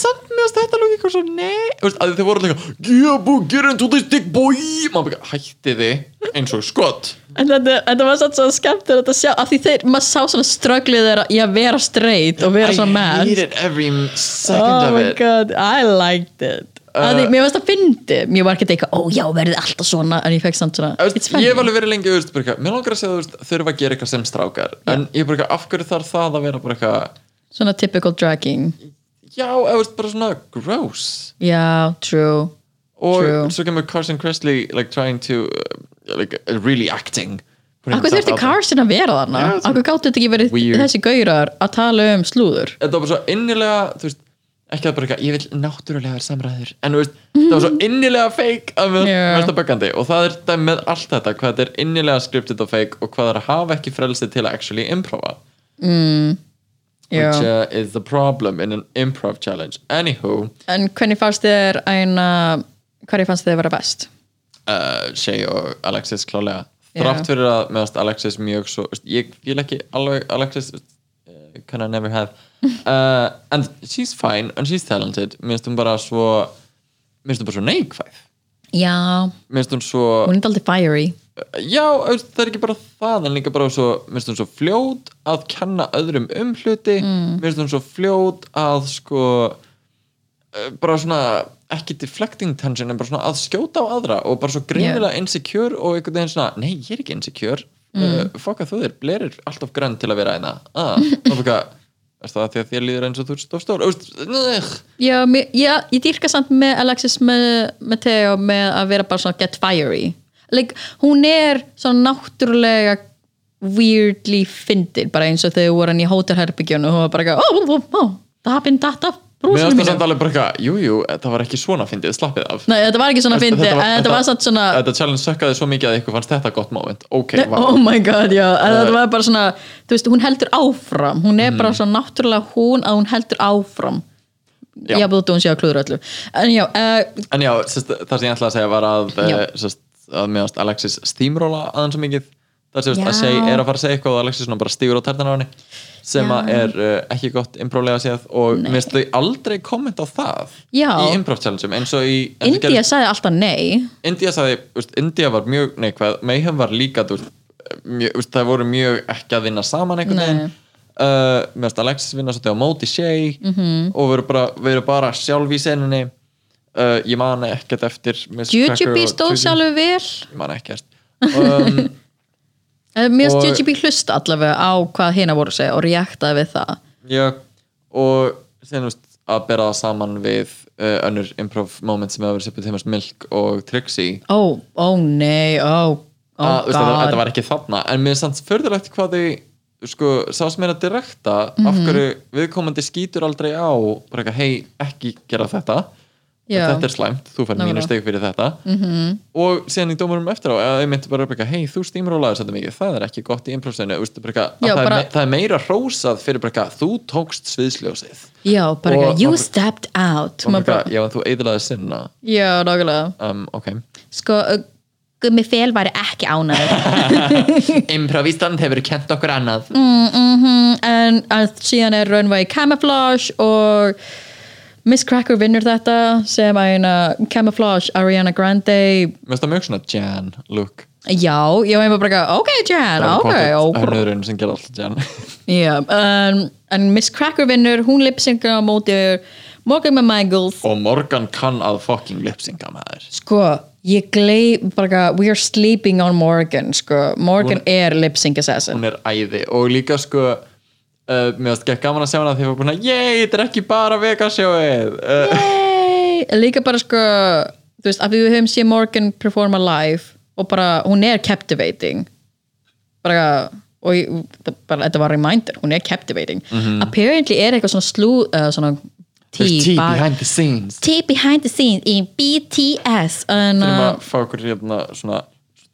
S3: samt mér að þetta lók eitthvað svo nei Þú veist, að þið voru alltaf eitthvað yeah boo get into this dick boy maður bara hætti þið eins og skott
S2: En þetta, þetta var satt svo skemmtilegt að sjá af því þeir, maður sá svona strögglið þeirra í að vera straight og vera svona
S3: I
S2: mad
S3: hated every second
S2: Oh
S3: of
S2: my
S3: it
S2: god, I liked it uh, því, Mér varst að fyndi, mér var ekkert eitthvað ó já, verðið alltaf svona, en ég fekk samt svona
S3: Þú
S2: It's
S3: veist,
S2: funny,
S3: ég hef alveg verið lengi þú veist, bara eitthvað, mér langar að segja þú veist, þurfa að gera eitthvað sem strákar en ég er bara eitthvað af hverju þarf það að vera bara eitthvað
S2: svona typical dragging
S3: já eða þú veist, bara svona gross
S2: Já, true
S3: og
S2: True.
S3: svo kemur Carson Kressley like trying to uh, like uh, really acting Putting
S2: Akkur
S3: himself
S2: þurfti
S3: out there.
S2: Carson að vera þarna
S3: Já, þetta-
S2: Akkur gáttu þetta ekki verið
S3: Weird.
S2: þessi gaurar að tala um slúður
S3: þetta var bara svo innilega þú veist, ekki að bara eitthvað, ég vil náttúrulegar samræður en þú veist, það var svo innilega fake að við
S2: Mhm. Já.
S3: yeah. verða böggandi og það er dæmi með allt þetta, hvað þetta er innilega skriptið og fake og hvað það er að hafa ekki frelsi til að actually improva
S2: Já.
S3: which uh, is the problem in an improv challenge anywho,
S2: En hvernig fannst þér eina hvernig fannst þér vera best?
S3: uh, Shay og Alexis klálega
S2: Já.
S3: þrátt fyrir að meðast Alexis mjög svo þú veist, ég fíl ekki alveg Alexis uh, can I never have uh, and she's fine and she's talented minnst hún bara svo minnst hún bara svo neikvæð
S2: Já,
S3: minnst hún svo
S2: hún er aldrei fiery
S3: já, þú veist, það er ekki bara það en líka bara svo, minnst hún svo fljót að kenna öðrum um hluti mm. minnst hún svo fljót að sko eh, bara svona ekki deflecting tension en bara svona að skjóta á aðra og bara svo greinilega insecure og einhvern veginn svona nei, ég er ekki insecure mm. uh, fokka þú þér, Blair er alltaf grönn til að vera eina ah, þá fokka, er það af því að þér líður eins og þú er stórstór Þú veist, ugh.
S2: Já, mér, já, ég dýrka samt með Alexis með, með Theo með að vera bara svona get fiery like, hún er svona náttúrulega weirdly fyndin bara eins og þegar voru hann í hótelherbygjun og hún var bara eitthvað, oh, oh, oh, oh, það hafði data
S3: mér
S2: brúsinu
S3: finnst það
S2: mínu
S3: samt alveg bara eitthvað, jú, jú, það var ekki svona fyndið, slappið af
S2: Nei, þetta var ekki svona fyndi, en þetta var samt svona
S3: Þetta challenge sökkaði svo mikið að ykkur fannst þetta gott moment Ok, vá
S2: oh my god, já, en þetta var bara svona þú veist, hún heldur áfram, hún er
S3: Mm.
S2: bara svona náttúrulega hún að hún heldur áfram
S3: Já.
S2: já, búið hún sé að klúður öllu en já, uh,
S3: En já, sest, það sem ég ætlaði að segja var að
S2: Já.
S3: eh, sest, að meðast Alexis steamrolla aðeins svo mikið Það sem
S2: Já.
S3: að segja, er að fara að segja eitthvað og Alexis svona bara stígur á tertan á henni sem
S2: Já.
S3: að er uh, ekki gott improvlega séð og
S2: Nei.
S3: minnst þau aldrei komment á það
S2: Já.
S3: í improv challenge eins og í eins og
S2: India
S3: gerðist-
S2: sagði alltaf nei
S3: India sagði, úst, India var mjög neikvæð Mayhem var líka úst, mjög, úst, það voru mjög ekki að vinna saman einhvern
S2: Nei.
S3: veginn uh, mér finnst Alexis vinna svolítið á móti Shay
S2: Mhm.
S3: -hmm. og veru bara, veru bara sjálf í seninni uh, ég man ekkert eftir Miss Cracker
S2: Jujubee
S3: og
S2: stóð
S3: Tutu.
S2: sjálfur vel
S3: ég man ekkert um, *laughs*
S2: Eh, Mér
S3: Og-
S2: finnst Jujubee hlusta allavega á hvað hina voru að segja og reaktaði við það
S3: já, og sen, úst, að bera það saman við uh, önnur improv moment sem hefur verið seppið tímast Milk og Trixie
S2: Ó, ó nei, ó, ó
S3: að, Ah, veist, þetta, þetta
S2: god
S3: var ekki þarna en mér finnst förðulegt hvað þau sko, sá sem er að direkta
S2: Mhm.
S3: af hverju viðkomandi skýtur aldrei á bara eitthvað, hei, ekki gera þetta
S2: Já.
S3: þetta er slæmt, þú fær
S2: Nákvæmlega. Mhm.
S3: mínu steg fyrir þetta -hmm. og síðan í dómurum eftir á eða þau myndu bara eitthvað, hei, þú stímrólaðir þetta mikið það er ekki gott í improvsinu veist, bara, eitthvað, að
S2: Já,
S3: það, er
S2: bara-
S3: me, það er meira hrósað fyrir bara, eitthvað, þú tókst sviðsljósið
S2: Já, bara
S3: Og-
S2: eitthvað, you
S3: og-
S2: stepped out Maður
S3: og bara,
S2: bara-
S3: eitthvað, já, en þú eðlaði sinna
S2: Já, nákvæmlega
S3: um, ok
S2: Sko, uh, Gummi Fel væri ekki ánæður
S3: Improvístand hefur kent okkur annað
S2: Mm. en að síðan er Runway Camouflage og Miss Cracker vinnur þetta sem að hérna Camouflage Ariana Grande
S3: Mér finnst það mjög svona Jan look
S2: Já, ég var einhver bara eitthvað, ok Jan, ok, ok
S3: Hönnurinn sem gerir hérna. alltaf *laughs* Jan
S2: Já, en, en Miss Cracker vinnur, hún lipsingur á móti Morgan McMichaels
S3: Og Morgan kann að fucking lipsinga maður
S2: Sko, ég gleif bara eitthvað, we are sleeping on Morgan sko, Morgan
S3: Hún-
S2: er lipsing assassin
S3: Hún er æði og líka sko uh, Mér finnst ekki gaman að sjá hana því að ég var búin að Yey, þetta er ekki bara vegasjóið uh,
S2: Yay! Líka bara sko þú veist, af því við höfum séð Morgan performa live og bara, hún er captivating bara og ég, það- bara, þetta var reminder, hún er captivating apparently er eitthvað svona slú uh, svona
S3: Mhm. There's
S2: tea
S3: tea
S2: ba-
S3: behind the scenes
S2: tea behind the scenes í BTS en
S3: Þurfum
S2: uh,
S3: að fá okkur hérna svona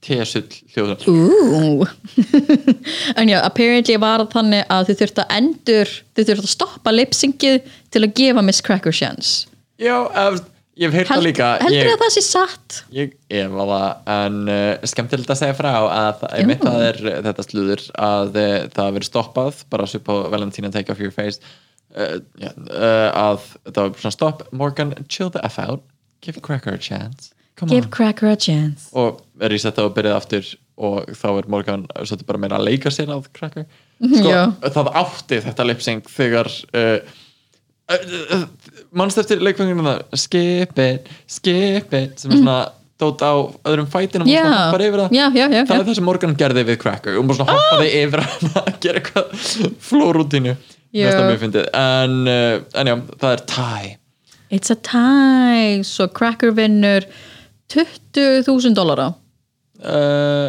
S3: Tesull hljóður
S2: Ooh. *laughs* en já, apparently var það þannig að þau þurftu að endur þau þurftu að stoppa lipsingið til að gefa Miss Cracker chance
S3: Já, ef, ég hef heyrt það
S2: Held,
S3: líka
S2: heldur
S3: ég,
S2: að það sé satt?
S3: Ég efa það, en uh, skemmtilegt að segja frá að það, einmitt, það er uh, þetta slúður að uh, það verið stoppað, bara svip á Valentina Take Off Your Face uh, yeah, uh, að það var svona stopp Morgan, chill the F out give Cracker a chance, come
S2: Give Cracker a chance
S3: on og er í setta og byrjað aftur og þá er Morgan uh, svolítið bara meira að leika sér að Cracker sko,
S2: Mhm, Já.
S3: það átti þetta lipsing þegar uh, mannst eftir leikfengurinn skip it, skip it sem er svona dót á öðrum fætinum
S2: Mhm. Já.
S3: og svona hoppar yfir það
S2: Já, já, já,
S3: það
S2: já. Ah!
S3: er það sem Morgan gerði við Cracker og bara svona hoppaði yfir hann að gera eitthvað flórútínu
S2: Já.
S3: en, uh, en já, það er tie
S2: It's a tie Svo Cracker vinnur 20.000 dollara
S3: uh,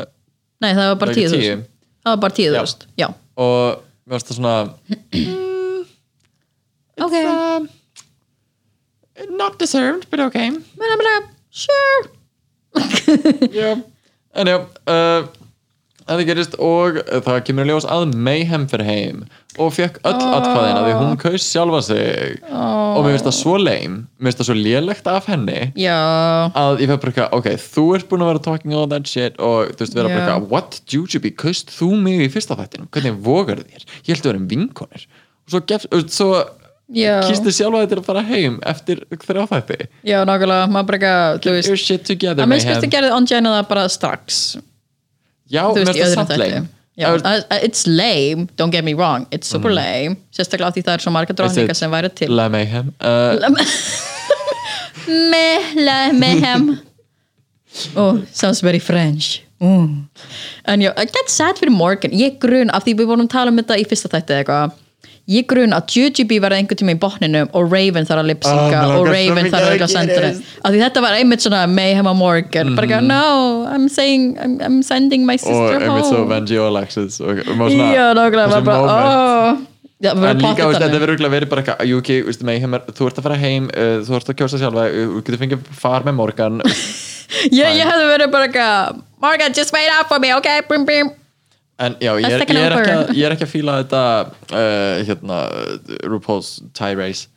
S2: Nei, það var bara
S3: Það er
S2: 10.000
S3: 10.
S2: Það var bara 10.000 Já,
S3: og mér varst það svona
S2: ok
S3: um, not deserved, but okay
S2: Men það bara, sure
S3: *laughs* já, en já uh, en það gerist og það kemur í ljós að Mayhem fyrir heim og fekk öll oh. atkvæðina því hún kaus sjálfa sig og mér finnst það svo leim mér finnst það svo lélegt af henni
S2: Já,
S3: að ég fæði bara eitthvað, ok, þú ert búin að vera talking all that shit og þú veist vera bara
S2: Já.
S3: eitthvað what, Jujubee, kaust þú mig í fyrsta þættinum hvernig vogar þér, ég held að vera um vinkonir og svo, gef, og svo
S2: Já.
S3: kýstu sjálfa þér til að fara heim eftir þrjá þætti
S2: já, nákvæmlega Maður bara eitthvað, þú
S3: your
S2: veist
S3: shit together,
S2: Að minnst
S3: Mayhem
S2: kosti gerði on Jenna það bara strax
S3: já,
S2: Þú
S3: Oh, mér
S2: veist, í
S3: finnst það
S2: öðrum
S3: samt
S2: þætti
S3: leim
S2: Já, uh, it's lame, don't get me wrong It's
S3: Mm.
S2: super lame, sérstaklega af því það er svo marga dróningar sem væri til
S3: La Mayhem uh,
S2: Meh, la, mehem *laughs* Oh, sounds very French mm. En já, I get sad fyrir Morgan Ég grun, af því við vorum að tala um þetta í fyrsta þætti eða eitthvað Ég grun að Jujubee var einhvern tíma í botninum og Raven þarf að lipsinga
S3: Ah,
S2: og
S3: mig langar svo
S2: Raven
S3: mikið
S2: þarf
S3: að
S2: að regla
S3: það
S2: sendinu
S3: gerist.
S2: af því þetta var einmitt svona mayhem á Morgan bara ekki, no, I'm saying I'm, I'm sending my
S3: Mhm. og
S2: sister
S3: einmitt svo
S2: home
S3: Venji og Alexis og, og maður svona-
S2: Já, nákvæmlega,
S3: þessi
S2: maður bara,
S3: moment.
S2: oh Já, við
S3: en
S2: verðum
S3: líka, veist,
S2: pottet
S3: þetta
S2: þannig.
S3: verður örugglega verið bara eitthvað Juki, veist, Mayhem er, þú ert að fara heim uh, þú ert að kjósa sjálfa, uh, þú getur fengið far með
S2: *laughs*
S3: Morgan
S2: Ég ég hefði verið bara eitthvað Morgan, just wait up for me, ok, brim brim
S3: en já, ég er,
S2: That's like an
S3: ég, er ekki að,
S2: upper.
S3: ég er ekki að fíla þetta uh, hérna, RuPaul's tie race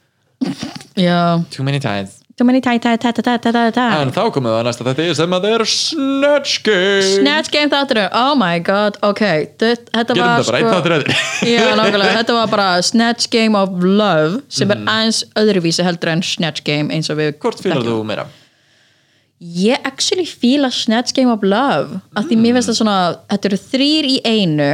S2: Já,
S3: too many ties
S2: Too many tæ, tæ, tæ, tæ, tæ, tæ, tæ, tæ
S3: En þá komum við að næsta þetta sem að það er Snatch Game
S2: Snatch Game þátturinn, oh my god, ok Þe- Þetta
S3: Gerum
S2: var sko-
S3: þetta bara einn þáttur eða
S2: Já, nákvæmlega, þetta var bara Snatch Game of Love sem
S3: Mm.
S2: er aðeins öðruvísi heldur en Snatch Game eins og við
S3: *laughs* Hvort fílar þú meira?
S2: Ég actually fíla Snatch Game of Love af því mér finnst það svona, þetta eru þrýr í einu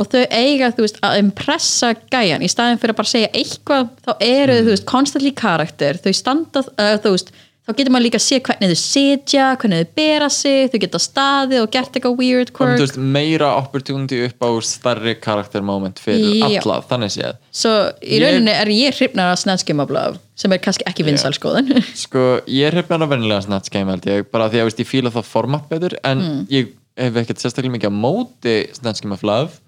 S2: og þau eiga, þú veist, að impressa gæjan í staðin fyrir að bara segja eitthvað þá eru
S3: Mm.
S2: þau, þú veist, constantly karakter þau standa, uh, þú veist þá getur maður líka að sé hvernig þau sitja hvernig þau bera sig, þau geta staðið og gert eitthvað weird
S3: Kom,
S2: quirk
S3: þú veist, meira opportunity upp á starri karaktermoment fyrir
S2: Já.
S3: alla, þannig séð
S2: Svo í
S3: Ég-
S2: rauninni er ég hrifnar af Snatch Game of Love sem er kannski ekki vinsalskoðun
S3: Sko, ég er hefnir að vennilega Snatch Game held ég, bara því að veist, ég fíla það format betur en
S2: Mm.
S3: ég hef ekkert sérstaklega mikið að móti Snatch Game of Love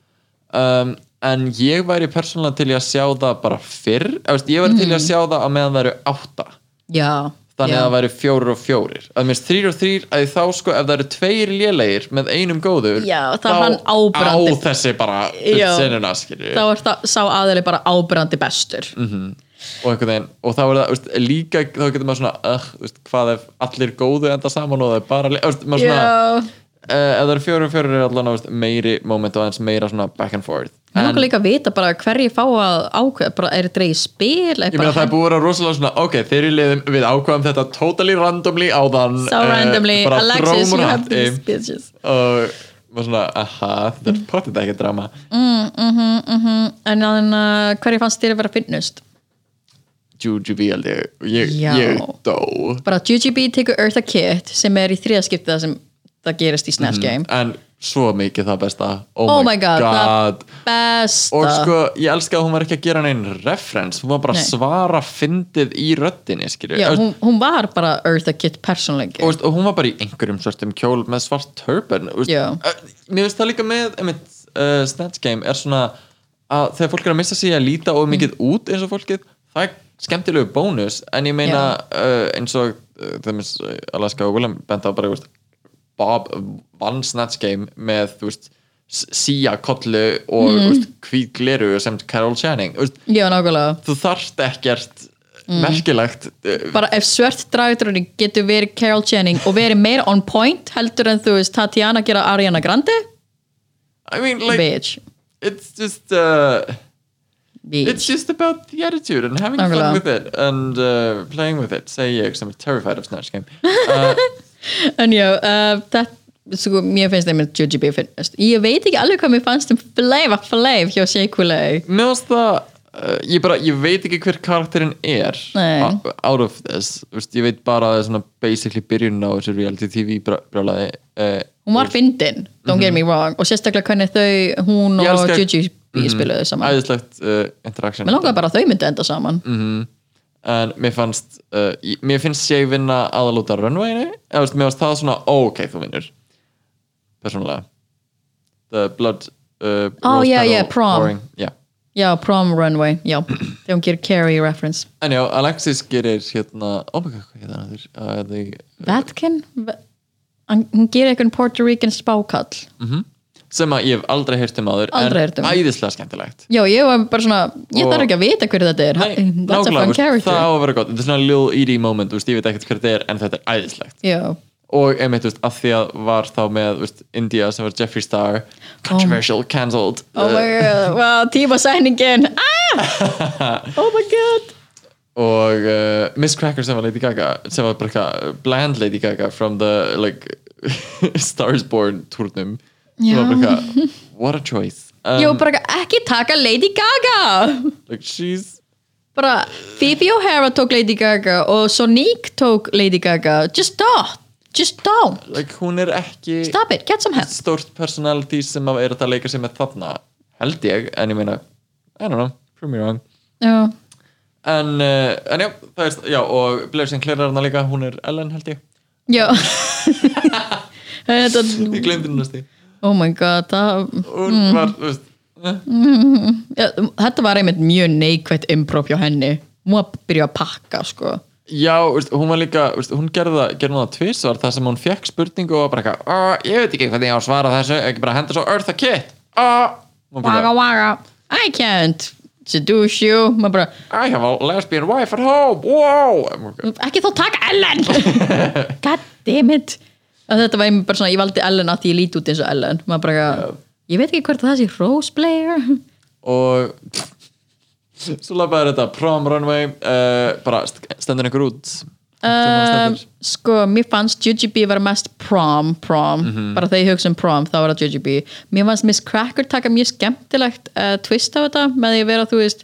S3: um, en ég væri persónulega til í að sjá það bara fyrr, eða, veist, ég væri til í að sjá það á meðan það eru átta
S2: *laughs* Já,
S3: þannig
S2: Mm. já.
S3: að það væri fjórir og fjórir að minnst þrýr og þrýr, að þá sko ef það eru tveir lélegir með einum góður
S2: Já, þá
S3: þá
S2: er hann áberandi.
S3: á þessi bara
S2: Já.
S3: senuna skilur
S2: þá er það sá aðeili bara ábyrrandi bestur
S3: Mhm. og einhvern veginn, og þá er það veist, líka, þá getur maður svona uh, veist, hvað ef allir góðu enda saman og það er bara lé- veist, maður svona,
S2: Já,
S3: uh, ef það eru fjórir og fjórir er allan veist, meiri moment og aðeins meira svona back and forth
S2: Mér langar líka að vita bara hverju fá að ákveða, bara er þetta í spil
S3: Ég meina það er búið að vera rosalega svona, ok, þeir eru liðum við ákvæðum þetta totally randomly áðan
S2: So
S3: eh,
S2: randomly,
S3: bara eh.
S2: Alexis,
S3: drómur
S2: you
S3: hatti.
S2: have these bitches
S3: og var svona, aha, þetta er potið ekki drama
S2: Mm, mhm, En uh, hverju fannst þér að vera finnust?
S3: Jujubee held ég, ég,
S2: Já.
S3: ég dó
S2: Bara GGB tekur Eartha Kitt sem er í þriðaskipti það sem það gerist í Snatch Game
S3: en svo mikið það besta Mhm. oh,
S2: Oh my god, það besta
S3: og sko, ég elska að hún var ekki að gera neinn reference, hún var bara að
S2: Nei.
S3: svara fyndið í röddinni, skilju
S2: Já,
S3: og,
S2: hún, hún var bara Eartha Kitt persónleiki
S3: veist, og hún var bara í einhverjum svörtum kjól með svart turban og veist,
S2: Já.
S3: eh, mér veist það líka með einmitt, uh, Snatch Game er svona að þegar fólk er að missa sig að líta
S2: Mm.
S3: og mikið út eins og fólkið, það er skemmtilegu bónus, en ég meina uh, eins og uh, þeimins Alaska og William bent á bara, þú veist Bob vann Snatch Game með, þú veist síja kollu og mm. hvít gleru sem Carol Channing Þú veist,
S2: Já, nákvæmlega
S3: þú þarft ekkert merkilegt uh,
S2: bara ef svört dragdrunni getur verið Carol Channing og verið meira on point heldur en þú veist Tatiana gera Ariana Grande
S3: I mean like
S2: bitch,
S3: it's just uh, it's
S2: bitch.
S3: just about the attitude and having
S2: Nákvæmlega.
S3: fun with it and uh, playing with it segi ég sem er terrified of Snatch Game uh,
S2: en já, uh, þetta sko, mér finnst þeim með JGB finnast ég veit ekki alveg hvað mér fannst um fleif að fleif hjá Sheikulei
S3: mér finnst það uh, ég, bara, ég veit ekki hver karakterinn er
S2: Nei.
S3: uh, out of this Vist, ég veit bara að það er svona basically byrjun á þessu reality tv brá- brjálæði uh,
S2: hún var fyndin, don't get me wrong og sérstaklega hvernig þau, hún
S3: Mhm. Ég
S2: og
S3: elska- Mhm.
S2: JGB spiluðu saman
S3: æðislegt uh, interaction
S2: mér langaði bara að þau myndu enda saman
S3: Mhm. en mér fannst uh, ég- mér finnst ég vinna aðalúta runwayinu eða veist, mér fannst það svona, ó, ok, þú vinnur persónulega the blood uh,
S2: Ó,
S3: rose
S2: já,
S3: petal
S2: já, Oh, prom.
S3: pouring, já.
S2: já, prom runway,
S3: *clears throat*
S2: já þegar hún gerir Carrie reference
S3: en já, Alexis gerir hérna, oh my god, hvað hérna þér uh, the,
S2: Vatkin? Va- hann- hún gerir eitthvað Puerto Rican spákall
S3: Mhm. sem að ég hef aldrei heyrt um aður
S2: Aldrei heyrt
S3: en
S2: um.
S3: æðislega skemmtilegt
S2: Já, ég var bara svona, ég
S3: Og-
S2: þarf ekki að vita hverju þetta er
S3: Nei,
S2: That's a
S3: nákvæmlega,
S2: fun
S3: veist, það á
S2: character
S3: að vera gott þetta er svona Lil Edie moment, veist, ég veit ekkert hver þetta er en þetta er æðislegt
S2: Já,
S3: og einmitt, veist, að því að var þá með veist, India sem var Jeffree Star controversial, cancelled uh,
S2: oh my god, wow, tíma sæningin ah! *laughs* Oh my god
S3: og uh, Miss Cracker sem var Lady Gaga sem var bara eitthvað bland Lady Gaga from the like *laughs* Stars Born turnum Hún var bara eitthvað, what a choice um,
S2: Jó, bara ekki taka Lady Gaga
S3: like she's
S2: Bara, Phoebe O'Hara tók Lady Gaga og Sonique tók Lady Gaga Just don't, just don't
S3: like hún er ekki
S2: Stop it, get some help
S3: stórt personality sem að er að leika sér með þarna held ég, en ég meina I don't know, prove me wrong
S2: Já,
S3: en, uh, en já, það er, já, og Blair Sinclair er hana líka, hún er Ellen held ég
S2: já *laughs* Þetta,
S3: ég glemdi hún næstu
S2: oh my god, það
S3: hún var, þú veist, eh.
S2: Já, þetta var einmitt mjög neikvætt improv hjá henni hún var að byrja að pakka sko.
S3: Já, veist, hún var líka, veist, hún gerði það, gerði það tvisvar þar sem hún fekk spurningu og var bara eitthvað, "Ah, ég veit ekki hvernig ég á að svara þessu, ekki bara henda svo Eartha Kitt, aaa,
S2: waga waga I can't seduce you maður bara,
S3: I have a lesbian wife at home wow I'm okay.
S2: ekki þá taka Ellen god damn it að þetta var einmitt bara svona, ég valdi Ellen að því ég líti út eins og Ellen maður bara, ég veit ekki hvort það sé Rose Blair
S3: og *laughs* svo lafaði þetta prom runway uh, bara st- stendur einhver út
S2: um,
S3: um,
S2: sko, mér fannst Jujubee var mest prom, prom bara þegar ég hugsa um prom, þá var það Jujubee mér fannst Miss Cracker taka mjög skemmtilegt uh, twist á þetta, með því að vera þú veist,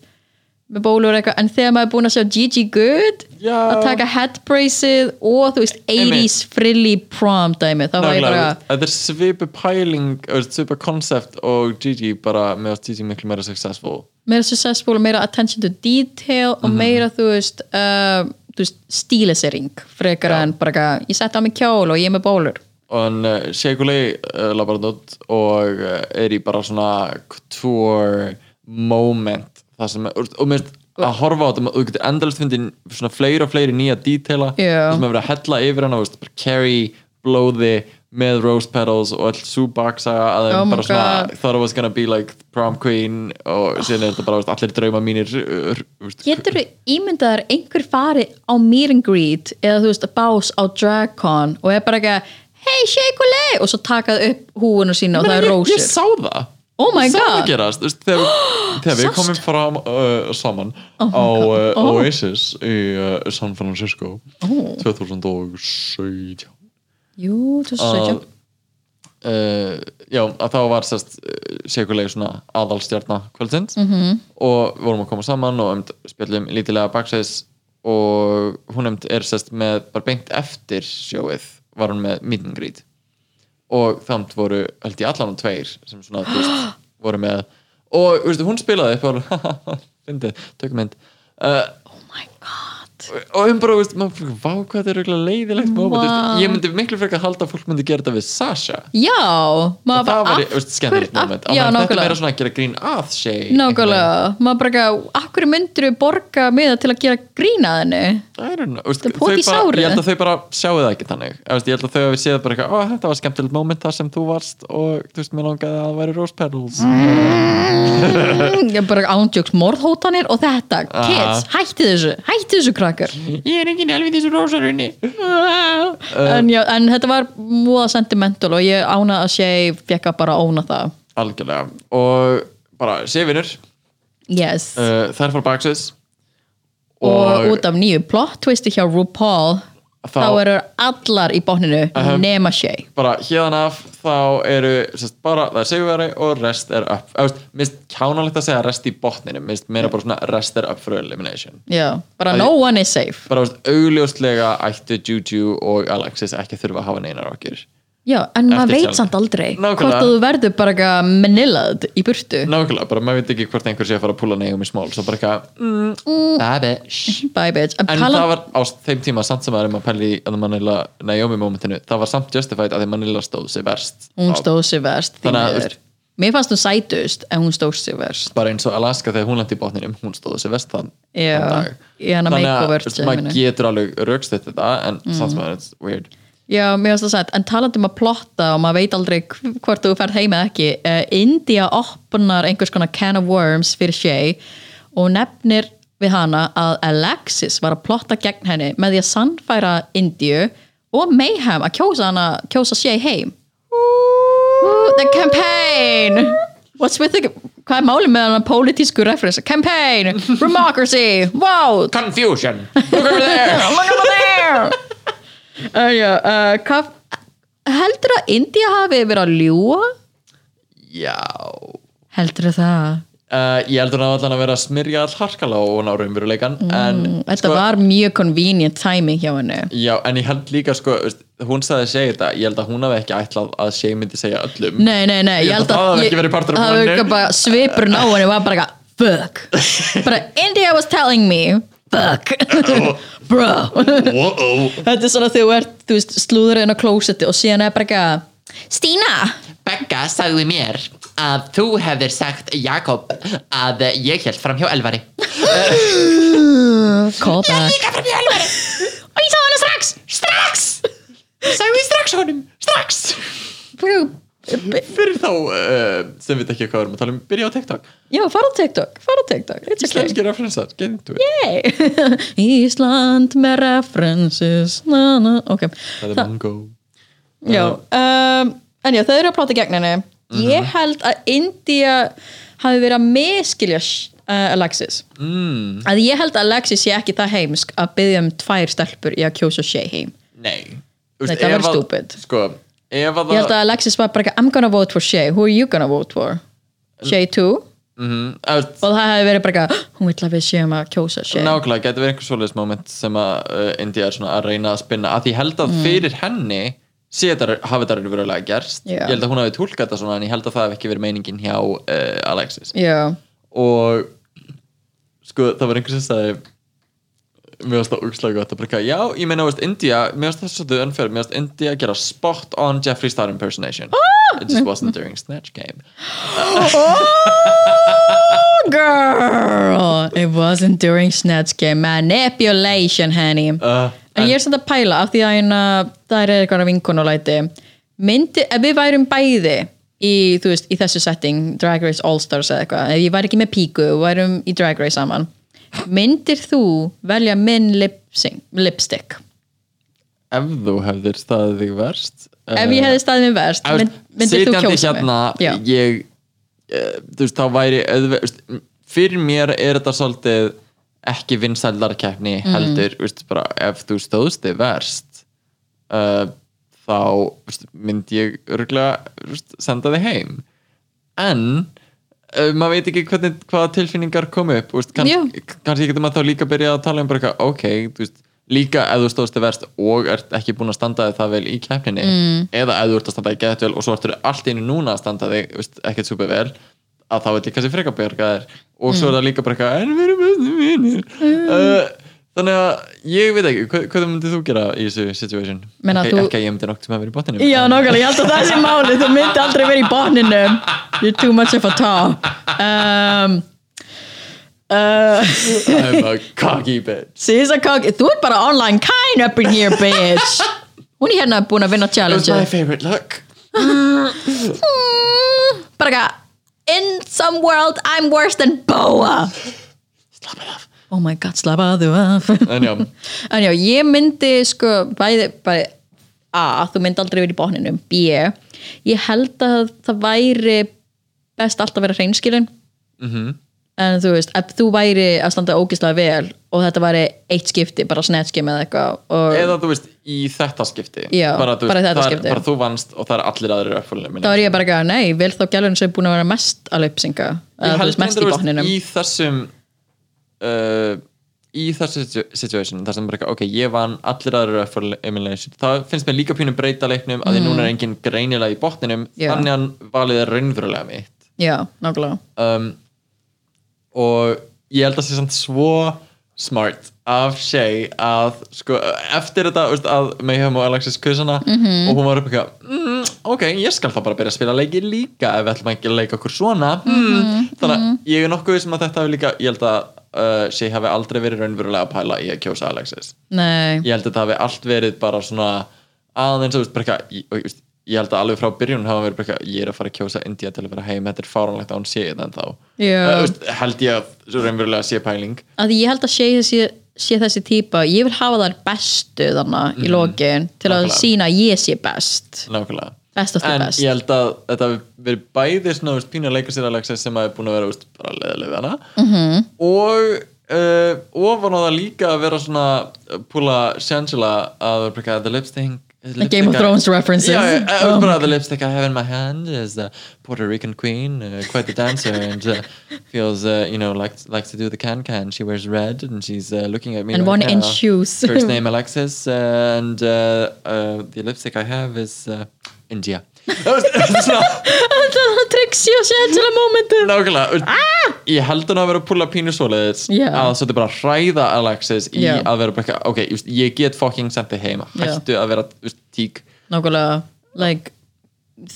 S2: með bólur eitthvað en þegar maður er búin að sjá Gigi Good
S3: Já.
S2: að taka headbracið og þú veist, 80s frilly prom dæmi, þá var ég bara
S3: þetta er svipu pæling svipu concept og Gigi bara með að Gigi miklu meira successful
S2: meira successful, meira attention to detail og
S3: Mhm.
S2: meira, þú veist, uh, þú veist stílisering, frekar en bara, eitthvað, ég setti á mig kjól og ég er með bólur
S3: og hann uh, Sheikulei uh, lappar hann út og uh, er í bara svona couture moment það sem, og mér finnst að horfa á þetta og þú getur endalist fundið svona fleiri og fleiri nýja detaila
S2: Já.
S3: það sem er verið að hella yfir hann og veist, bara carry, blóði með rose petals og all súbaksa að þeim
S2: Oh my
S3: bara svona
S2: God.
S3: thought I was gonna be like prom queen og síðan er þetta bara veist, allir drauma mínir uh, veist, *clears throat*
S2: Getur þú ímyndaðar einhver fari á meet and greet eða þú veist að bás á dragcon og er bara ekki að hei sheikulei og svo takað upp húinu sína og það er
S3: Ég-
S2: rósir
S3: Ég sá það
S2: Oh my
S3: Ég sá það
S2: God.
S3: gerast Þú veist, Þegar,
S2: *gasps*
S3: þegar við
S2: Sástu? Oh
S3: komum fram uh, saman á uh, Oasis í uh, San Francisco
S2: Oh.
S3: 2017
S2: Jú, þú svo
S3: að,
S2: sætja
S3: uh, Já, að þá var sérst sékulegi svona aðalstjarnar kvöldsins
S2: Mhm.
S3: -hmm. og við vorum að koma saman og um, spjallum lítilega baksæðis og hún um, er sérst með bara beint eftir sjóið var hún með meet and greet og þannig voru held ég allan og tveir sem svona,
S2: *gasps*
S3: þú veist, voru með og þú veist, hún spilaði upp og bara, *laughs* fyndið, tökum mynd uh,
S2: Oh my god
S3: og hún bara, þú veist, maður fyrir, vá hvað þetta er eiginlega leiðilegt moment, þú
S2: Vá.
S3: veist, ég myndi miklu frekar halda að fólk myndi gera þetta við Sasha
S2: Já, maður
S3: og það var, þú
S2: af
S3: veist, skemmtilegt
S2: hver- af-
S3: moment á
S2: Já,
S3: meðan þetta er
S2: nákvæmlega
S3: meira svona að gera grín að seg
S2: Nákvæmlega, maður bara ekki að Akkur myndir við borga miða til að gera grína þenni
S3: I don't know, þú veist,
S2: Það er pot í
S3: þau bara,
S2: sárið.
S3: ég held að þau bara sjáu það ekki þannig Þú veist, ég held að þau hefur séð bara eitthvað, ó þetta var skemmtilegt moment þar sem þú varst og þú veist, mér langaði að það væri rose petals
S2: Mm, Ég er bara ándjöks morðhótanir og þetta Kids, hætti þessu, hætti þessu krakkar
S3: ég er enginn elvið þessu rosarunni Eh.
S2: en, já, en þetta var múða sentimental og ég ána að sé fekk að bara óna það
S3: algjörlega og bara sévinur
S2: yes.
S3: uh, þær fór baksins
S2: Eh, og, út af nýju plot twisti hjá RuPaul
S3: Þá-
S2: þá, eru allar í botninu nema sé
S3: bara hérðan af þá eru sest, bara það er sigurveri og rest er up Eðast, mist kjánalegt að segja rest í botninu mist meira bara svona rest er up for elimination
S2: já, bara
S3: Æ.
S2: no one is safe
S3: bara veist, augljóslega ættu Juju og Alexis ekki að þurfa að hafa neinar okkir
S2: já, en
S3: Eftir
S2: maður veit
S3: sjálf.
S2: samt aldrei
S3: Nákvæmlega. Mm.
S2: hvort að þú verður bara eitthvað menilað í burtu
S3: nákvæmlega, bara maður veit ekki hvort einhver sé að fara að púla neigum í smál svo bara eitthvað mm, bad bitch
S2: *laughs* bye bitch en
S3: En
S2: tala
S3: það var á þeim tíma samt sem um að maður pæli í að Manila Naomi momentinu, það var samt justified að því Manila stóð sér verst
S2: hún
S3: Á-
S2: stóð sér verst því
S3: Þannig að-
S2: miður. mér fannst hún sætust en hún stóð sér verst
S3: bara eins og Alaska þegar hún lendi í botninum hún stóð sér vest þann
S2: Já,
S3: þann dag.
S2: í hana
S3: Þannig
S2: makeover Mm.
S3: veist, maður
S2: dæminu.
S3: getur alveg raukstætt þetta en samt sem að it's weird
S2: Já, mér finnst það sætt, en talandi um að plotta og maður veit aldrei hv- hvort þú færð heim eða ekki uh, India opnar einhvers konar can of worms fyrir Shay og nefnir við hana að Alexis var að plotta gegn henni með því að sannfæra Indiu og Mayhem að kjósa hana kjósa Shay heim Ooh, The campaign What's with the Hvað er málið með hana pólitísku reference? Campaign, democracy, wow
S3: Confusion, look over there
S2: uh, já, uh,
S3: eh,
S2: hvað, heldur að India hafi verið að ljúa?
S3: Já
S2: Heldur það?
S3: Uh, ég heldur að allan að vera að smyrja all harkala og hún á raunveruleikan
S2: Mm.
S3: en,
S2: Þetta var mjög convenient timing hjá henni.
S3: já, en ég held líka sko, veist, hún sagði að segja þetta ég held að hún hafi ekki ætlað að segja myndi segja öllum
S2: Nei, nei, nei,
S3: Ég held að það hafi
S2: ég-
S3: ekki verið partur af
S2: það
S3: planinu.
S2: hafi ekki bara svipurinn á henni var bara eitthvað,
S3: *laughs*
S2: fuck. Bara India was telling me, fuck. Bro.
S3: Whoa.
S2: *laughs* Þetta er svona þegar þú ert, þú veist, slúðurinn á klósetti og síðan er bara eitthvað, Stína,
S4: Begga sagði mér að þú hefðir sagt Jakob að ég held fram hjá Elvari.
S2: call back.
S4: Líka fram hjá Elvari?
S2: Og ég sá hana strax, strax.
S4: Sagði strax honum, strax!
S2: Bro,
S3: fyrir þá uh, sem við ekki hvað við erum að tala um byrja á TikTok,
S2: Já, fara á TikTok, fara á TikTok It's okay.
S3: íslenski referensar, get into it
S2: Hey. *laughs* Ísland með references na, na. ok
S3: það er
S2: Þa-
S3: mango
S2: já, Mhm. um, en já, þau eru að plata gegn henni ég held að India hafi verið að miskilja uh, Alexis mm. að ég held að Alexis sé ekki það heimsk að byggja um tvær stelpur í að kjósa sé heim
S3: nei,
S2: Nei, það væri stúpid.
S3: sko, ef að
S2: ég
S3: það
S2: held að Alexis var bara ekki I'm gonna vote for Shay, who are you gonna vote for? Shay 2 og
S3: Mhm, ef-
S2: það hefði verið bara ekki hún vill að við séum að kjósa Shay
S3: Nákvæmlega, getur verið einhver svoleiðis moment sem að uh, India er svona að reyna að spinna að því held
S2: Mm.
S3: að fyrir henni sé þetta, hafi þetta verulega gerst
S2: Já.
S3: ég held að hún hafi tólkað þetta svona en ég held að það hef ekki verið meiningin hjá uh, Alexis
S2: já,
S3: og sko það var einhver sem sagði mér varst það úkslega gott að bara eitthvað, já, ég meina, veist, India, mér varst það svolítið unfair mér varst India að gera spot on Jeffree Star impersonation
S2: Ah!
S3: it just wasn't during Snatch Game
S2: girl it wasn't during snatch game manipulation henni
S3: uh,
S2: en ég er samt að pæla af því að hérna, það er eitthvað vinkonulæti myndi, ef við værum bæði í, þú veist, í þessu setting Drag Race All Stars eða eitthvað ef ég væri ekki með píku, og værum í Drag Race saman myndir þú velja minn lip sync, lipstick
S3: ef þú hefðir staðið þig verst uh,
S2: ef ég hefði staðið mér verst
S3: Þú
S2: mynd,
S3: veist,
S2: myndir þú
S3: sitjandi
S2: kjósa
S3: hérna
S2: mig Já.
S3: ég eh, þú veist þá væri auðveg, veist, fyrir mér er þetta svolítið ekki vinsældarkeppni
S2: Mhm.
S3: heldur veist, bara, ef þú stóðst þig verst uh, þá veist, myndi ég örgulega veist, senda þig heim en uh, maður veit ekki hvernig, hvaða tilfinningar kom upp veist, kann,
S2: Jú.
S3: kannski getur maður þá líka byrjað að tala um bara eitthvað, ok, þú veist líka ef þú stóðst þig verst og ert ekki búin að standa þig það vel í keppninni mm. eða ef þú ert að standa þig gett vel og svo ertu allt í einu núna að standa þig þú veist, ekkert super vel að þá er líka sér frekar björgaðir og
S2: Mm.
S3: svo er það líka bara eitthvað en við erum bestu vinir uh, þannig að ég veit ekki, hvað, hvað myndið þú gera í þessu situation?
S2: Meina
S3: ekki,
S2: þú-
S3: ekki að ég myndi nokkuð sem að vera í botninu
S2: Já, nákvæmlega, ég held að það sé máli þú myndi aldrei verið í botninum you're too much of a top um, uh, *laughs*
S3: I'm a cocky bitch
S2: she's a cock þú ert bara online kind up in here bitch hún er hérna búin að vinna
S3: That was
S2: challenge
S3: my favorite look
S2: Mm, bara eitthvað in some world I'm worse than Boa
S3: Slappa af
S2: oh my god, slappaðu af
S3: En já,
S2: *laughs* en já, ég myndi sko bæði, bæði A, þú myndi aldrei verið í botninum B, ég held að það væri best allt að vera hreinskilin en þú veist, ef þú væri að standa ógislega vel og þetta væri eitt skipti, bara snetski með eitthvað og
S3: eða þú veist í þetta skipti
S2: Já,
S3: þú
S2: bara í þetta
S3: það er-
S2: skipti.
S3: bara þú vannst og það er allir aðrir uppfólunum
S2: þá er ég bara ekki að, nei, vil þá gælun sem er búin að vera mest að löpsinga eða þú veist, mest í botninum
S3: í þessum uh, í þessu situ- situation þar sem bara eitthvað, ok, ég vann allir aðra for elimination, það finnst mér líka pínu breyta leiknum að því núna er engin greinilega í botninum
S2: Mhm. Já.
S3: þannig að valið er raunverulega mitt
S2: já, nákvæmlega
S3: um, og ég held að sé samt svo smart af Shay að sko, eftir þetta veist, að Mayhem og Alexis kussana -hmm. og hún var upp eitthvað mm, ok, ég skal þá bara byrja að spila leiki líka ef við ætlum ekki að leika okkur svona mm. þannig að ég er nokkuð sem að þetta hafi líka, ég held að uh, Shay hafi aldrei verið raunverulega að pæla í að kjósa Alexis
S2: nei,
S3: ég held að þetta hafi allt verið bara svona aðeins að, veist, bara eitthvað, ég, og, ég veist, ég held að alveg frá byrjun hafa verið bara eitthvað, ég er að fara að kjósa India til að vera heim, þetta er fáránlegt að hún sé hérna þetta en þá
S2: Já.
S3: veist, held ég að svo raunverulega sé pæling
S2: að því ég held að sé þessi, sé þessi típa ég vil hafa þær bestu þarna í lokin til að
S3: Mhm. nákvæmlega.
S2: sína að ég sé best
S3: nákvæmlega
S2: Best of the
S3: en
S2: best.
S3: ég held að þetta hafi verið bæði svona þú veist, pínu að leika sér Alexis sem hafi búin að vera þú veist, bara leðileg við hana
S2: Mhm.
S3: -hmm. og uh, ofan á það líka að vera svona uh, púla Shangela að vera bara eitthvað, the lipstick
S2: The Game of Thrones references.
S3: Já, já, uh,
S2: Oh
S3: bara the lipstick I have in my hand is a Puerto Rican queen, uh, quite the dancer
S2: *laughs*
S3: and uh, feels, uh, you know, likes, likes to do the can-can. She wears red and she's uh, looking at me
S2: And
S3: right now.
S2: one-inch shoes. *laughs*
S3: First name Alexis uh, and uh, uh, the lipstick I have is uh,
S2: *laughs*
S3: India. Nákvæmlega,
S2: þetta er það triksi og sé til að momentu
S3: þú veist, ég held hann að vera að púla pínu svoleiðis
S2: Ah! Já.
S3: að svo þetta bara hræða Alexis í
S2: Já.
S3: að vera bara eitthvað, ok, just, ég get fucking sent þig heima,
S2: Já.
S3: hættu að vera just, tík,
S2: nákvæmlega, like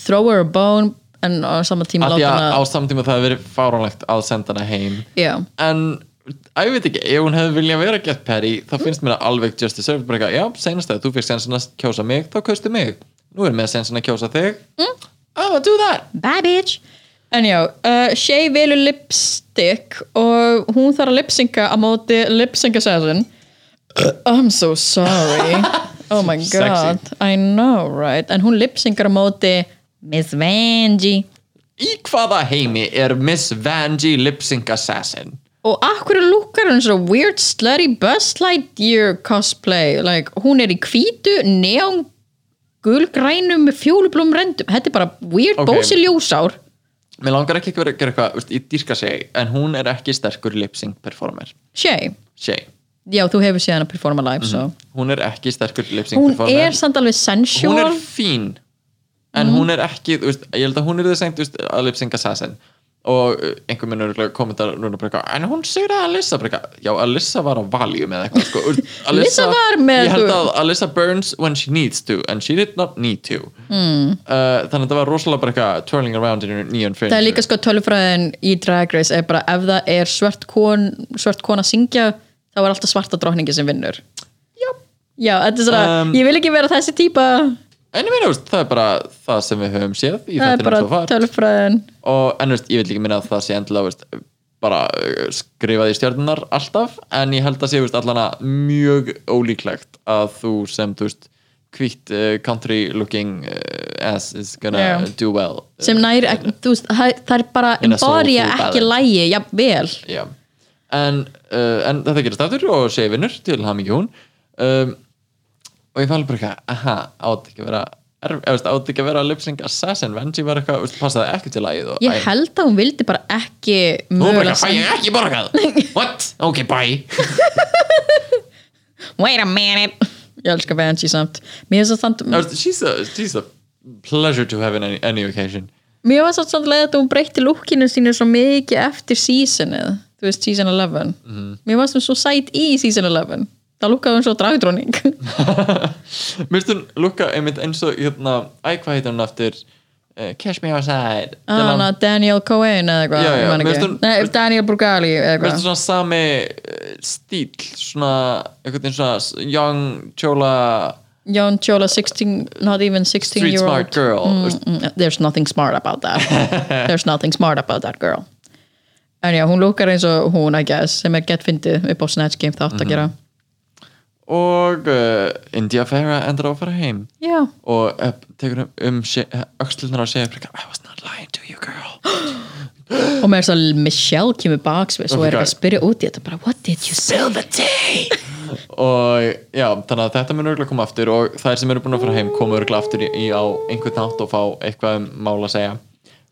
S2: throw her a bone en á sama tíma
S3: af því
S2: láta
S3: að á
S2: hana
S3: samtíma það hefur verið fáránlegt að senda hana heim
S2: já,
S3: en að ég veit ekki, ef hún hefði viljað vera gett Perry, þá finnst mér að alveg just deserved bara eitthvað, já, senast það, þú fyrst senast að kjósa mig, þá kaustu mig, nú erum við senast að kjósa þig mm. I'm gonna do that
S2: Bye bitch En já, uh, Shay velur lipstick og hún þarf að lipsynka á móti lipsynka sæðin *coughs* I'm so sorry Oh my god, I know right En hún lipsynkar á móti Miss Vanjie
S3: Í hvaða heimi er Miss Vanjie Lipsync Assassin?
S2: Og akkur lukkar hún svo weird slutty bust lightyear cosplay like, Hún er í hvítu, neon gulgrænum með fjólublum rendum Þetta er bara weird
S3: Ok.
S2: okay. bósi ljósár
S3: Mér langar ekki að vera að gera eitthvað, veist, ég dýrka seg en hún er ekki sterkur lipsync performer
S2: Shay,
S3: Seg,
S2: já þú hefur séð hana performa live
S3: hún er ekki sterkur
S2: so.
S3: lipsync
S2: Hún
S3: performer
S2: er samt alveg
S3: Hún
S2: sensual
S3: er fín en
S2: Mhm.
S3: hún er ekki, þú veist, ég held að hún er það seint, þú veist, að lipsync assassin og uh, einhver minn er örugglega kommentar núna bara eitthvað, en hún segir að Alyssa bara eitthvað, já, Alyssa var á valjum eða eitthvað sko. Þú
S2: *laughs*
S3: veist,
S2: Alyssa var með-
S3: ég held
S2: þú-
S3: að Alyssa burns when she needs to and she did not need to
S2: Hmm.
S3: mm. uh, þannig að það var rosalega bara eitthvað twirling around in her neon fringe
S2: Það er líka sko tölufræðin í Drag Race er bara ef það er svört kon, svört kon að syngja þá er alltaf svarta drottningi sem vinnur Já, þetta er svona,
S3: Um,
S2: ég vil ekki vera þessi típa
S3: En ég meina, þú veist, það er bara það sem við höfum séð í
S2: Það er
S3: þetta bara
S2: bara
S3: far.
S2: tölufræðin
S3: og en þú veist, ég vil líka minna að það sé endilega þú veist, bara uh, skrifað í stjörnunar alltaf, en ég held að sé þú veist, allan að mjög ólíklegt að þú sem, þú veist, hvítt uh, country looking uh, ass is gonna
S2: Já.
S3: do well
S2: sem nær, ekki- þú veist, það það er bara
S3: In a
S2: embodya
S3: soulful
S2: ekki
S3: ballad.
S2: lægi, jafnvel
S3: Já. En, uh, en þetta gerast aftur og segi vinnur til hann ekki hún um, og ég fann alveg bara eitthvað aha, átt ekki að vera erf- eða, veist, átt ekki að vera lipsync assassin Venji var eitthvað, veist, passaði ekki til lagið og,
S2: ég held að hún vildi bara ekki
S3: Nú bara
S2: mögulega
S3: eitthvað, fæ ég ekki
S2: *laughs*
S3: borgað What? Ok, bye
S2: sem- wait a minute ég elska Vanjie samt mér finnst það
S3: Þú
S2: samt,
S3: veist, she's, a, she's a pleasure to have in any, any occasion
S2: mér var samt samt leið að hún breytti lukkinu sínu svo mikið eftir seasonið, þú veist season 11
S3: Mhm.
S2: mér var samt svo sæt í season 11 það lukkaði hún svo
S3: *laughs*
S2: dragdróning
S3: Mér finnst hún lukka einmitt eins og hérna, æ, hvað heitir hún aftur uh, Catch me outside
S2: Ah,
S3: Dylan.
S2: hana Daniel Cohen eða eitthvað
S3: Hérna. Já, já,
S2: ég man
S3: mér
S2: ekki.
S3: finnst hún-
S2: Nei, Daniel Brugali eða
S3: Mér finnst
S2: eitthvað
S3: svona sami eh, stíl svona, einhvern veginn svona s- young, chola
S2: John Chola 16, not even 16
S3: street
S2: year old
S3: smart girl mm.
S2: Mm, there's nothing smart about
S3: *laughs*
S2: that there's nothing smart about that girl en já, hún lúkar eins og hún I guess, sem er gett fyndið upp á Snatch Game
S3: Mhm.
S2: þátt að gera
S3: og uh, India Farah endur á að fara heim
S2: já,
S3: og uh, tekur um, um öxlunar og segir I was not lying to you girl
S2: *laughs* og með þess að Michelle kemur baksvið og
S3: Oh my
S2: er eitthvað að
S3: God.
S2: spyrja út í þetta bara, what did you spill the tea
S3: og já, þannig að þetta mun örgulega koma aftur og þær sem eru búin að fara heim koma örgulega aftur í, í á einhvern nátt og fá eitthvað um mál að segja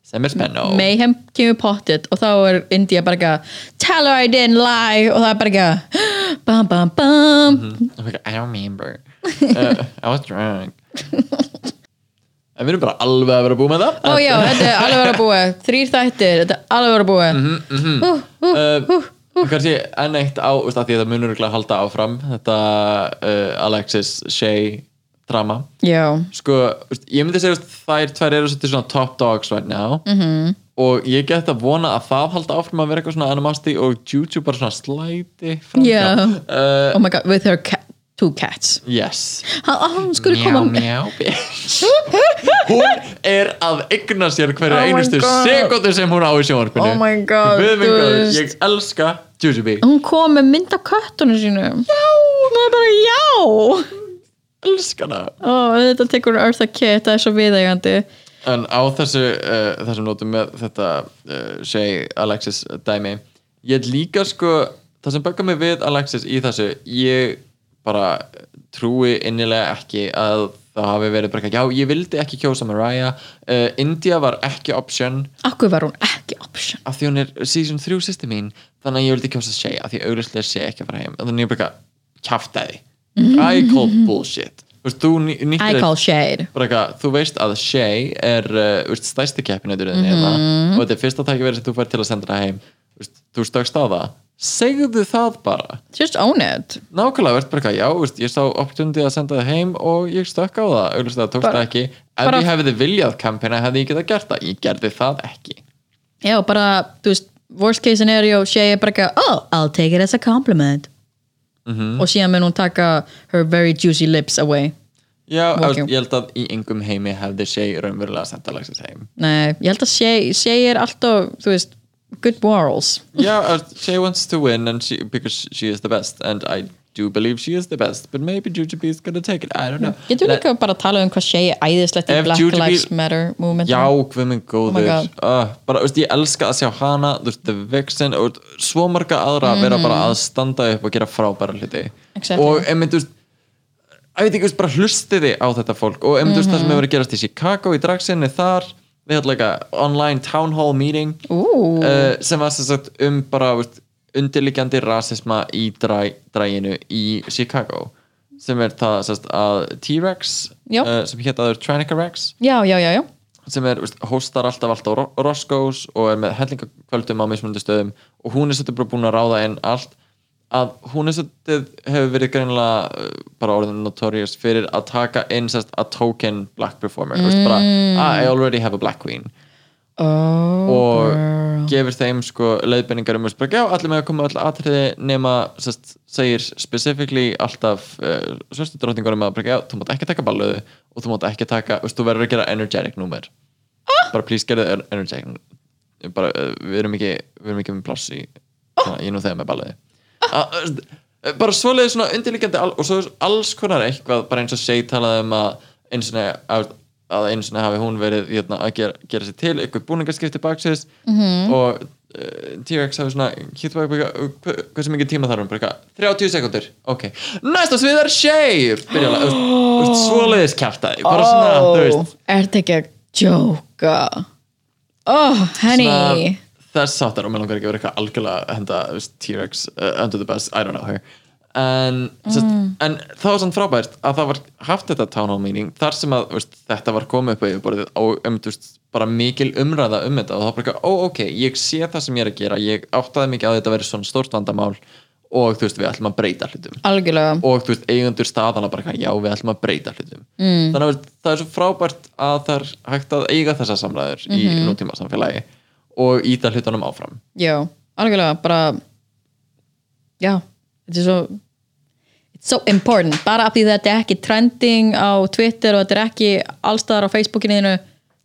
S3: sem er spennu
S2: *laughs* Mayhem kemur pottit og þá er India bara ekki að tell her I didn't lie og það er bara ekki að *gasps* bam bam bam
S3: okay, I don't remember uh, I was drunk en við erum bara alveg að vera búin með það
S2: Ó já, þetta er alveg verið að búa Þrýr þættir, þetta er alveg verið að búa mm -hmm, mm -hmm. Uh, uh,
S3: uh, kannski enn eitt á veist, að því að það munur að halda áfram þetta uh, Alexis Shay drama
S2: Já,
S3: sko, veist, ég myndi segja veist, þær tvær eru svolítið svona top dogs right now
S2: Mhm.
S3: -hmm. og ég get að vona að það halda áfram að vera eitthvað svona animasti og Juju bara svona slæti fram
S2: Já.
S3: uh,
S2: oh my god, with her cat, two cats
S3: yes
S2: Hann- að Hún skulle
S4: Mjá,
S2: koma
S4: mjá
S3: hún er að egna sér hverja
S2: Oh my
S3: einustu
S2: God.
S3: sekundu sem hún á í sjónvarpinu
S2: Oh my God,
S3: Guð minn
S2: þú
S3: góður,
S2: veist.
S3: ég elska Jujubee
S2: Hún kom með mynd af köttunum sínum Já, hún er bara já
S3: elska hana
S2: Ó, þetta tekur hún Eartha Kitt, það er svo viðægandi
S3: En á þessu, uh, þessum nótum með þetta uh, segi Alexis dæmi ég er líka sko það sem böggar mig við Alexis í þessu ég bara trúi innilega ekki að það hafi verið bara eitthvað, já ég vildi ekki kjósa Mariah uh, India var ekki option
S2: Akkur var hún ekki option
S3: af því hún er season 3 sýsti mín þannig að ég vildi kjósa Shay af því auðvitað er Shay ekki að fara heim þannig að ég bara kæftæði I call bullshit Þú veist, þú ný- nýttir
S2: I
S3: þér-
S2: call shade
S3: bara eitthvað, þú veist að Shay er uh, úst, stæsti keppinautur mm
S2: Mhm.
S3: -hmm. og þetta er fyrsta tækifæri sem þú fær til að senda það heim úst, þú stökkst á það segðu það bara
S2: Just own it
S3: nákvæmlega verður bara eitthvað, já, úst, ég sá opportunity að senda það heim og ég stökk á það auðvitað það tókst
S2: Bara-
S3: það ekki ef
S2: bara-
S3: ég hefði viljað kampina hefði ég getað gert það ég gerði það ekki
S2: Já, bara, þú veist, dus worst case scenario Shay er bara ekki, oh, I'll take it as a compliment Og síðan mun hún taka her very juicy lips away
S3: Já,
S2: Walking.
S3: okay. ég held að í engum heimi hefði sé raunverulega senda lagsins heim
S2: Nei, ég held að Shay, Shay er alltaf, þú veist, good morals.
S3: Já, að she wants to win and she, because she is the best and I do believe she is the best but maybe Jujubee is gonna take it, I don't know
S2: Getur við
S3: Le-
S2: líka bara að tala um hvað Shay er æðislegt í
S3: Ef
S2: Black
S3: Judy
S2: Lives
S3: Biel-
S2: Matter movement?
S3: Já, hvað minn
S2: Oh my
S3: góður
S2: God.
S3: uh, bara, veist, ég elska að sjá hana þú veist, The Vixen og svo marga aðra að vera bara að standa upp og gera frábæra hluti
S2: Mhm. Exactly.
S3: og einmitt, þú veist ég veit ekki, þú veist, bara hlustiði á þetta fólk og einmitt, þú veist, það
S2: Mhm.
S3: sem hefur verið að gerast í Chicago í dragsinni þar, við hefum like a online town hall meeting
S2: Ú.
S3: uh, sem var sem sagt um bara þú veist, undirliggjandi rasisma í dræ, dræginu í Chicago sem er það sem sagt, að T-Rex
S2: Já.
S3: uh, sem hétt aður Tranica Rex
S2: Já, já, já, já.
S3: sem er, veist, hóstar alltaf alltaf á Roscoe's og er með hellingakvöldum á mismunandi stöðum og hún er svolítið bara búin að ráða inn allt að hún er svolítið hefur verið greinilega uh, bara orðin notorious fyrir að taka inn sérst að token black performer mm. veist, bara, "Ah, I already have a black queen
S2: Oh,
S3: og
S2: girl.
S3: gefur þeim sko leiðbeiningar um að spyrja, já, allir með að koma öll atriði nema, sest, segir specifically alltaf uh, svörstu drottingur um að spyrja, já, þú mátt ekki taka balluðu og þú mátt ekki taka, veist, þú verður að gera energetic númer, bara please gerðu en- energetic, bara uh, við erum ekki, við erum ekki með pláss í svona, ég nú þegar með balluðu Að, þú veist, bara svoleiði svona undirlíkjandi al- og svo er alls konar eitthvað bara eins og segi talaði um að eins og að, að eins og hafi hún verið hérna, að gera, gera sér til eitthvað búningaskipti baksins -hmm. og uh, T-Rex hafi svona kýtt bak baka, hva, hversu mikið tíma þarf hún bara eitthvað 30 sekundur, ok næsta svið er shave oh. svoleiðis kjartaði bara svona, þú veist
S2: Er þetta ekki að djóka? Oh, henni.
S3: svona, þess áttar og mér langar ekki að vera eitthvað algjörlega að henda þú veist, T-Rex uh, under the bus, I don't know her en, mm. en það var svona frábært að það var haft þetta town hall meeting þar sem að þú veist, þetta var komið upp á yfirborðið og um, þú veist, bara mikil umræða um þetta og það var bara, eitthvað, ó ok, ég sé það sem ég er að gera ég áttaði mikið á því að þetta verið svona stórt vandamál og þú veist, við ætlum að breyta hlutum
S2: Algjörlega.
S3: og þú veist, eigendur staðana bara eitthvað, já, við ætlum að breyta hlutum mm. þannig að veist, það er svo frábært að það er hægt að eiga þessar samræður í nútíma samfélagi og íta hlutunum áfram
S2: Já, algjörlega, bara já, þetta er svo it's so important, bara af því þetta er ekki trending á Twitter og þetta er ekki allstaðar á Facebookinu þínu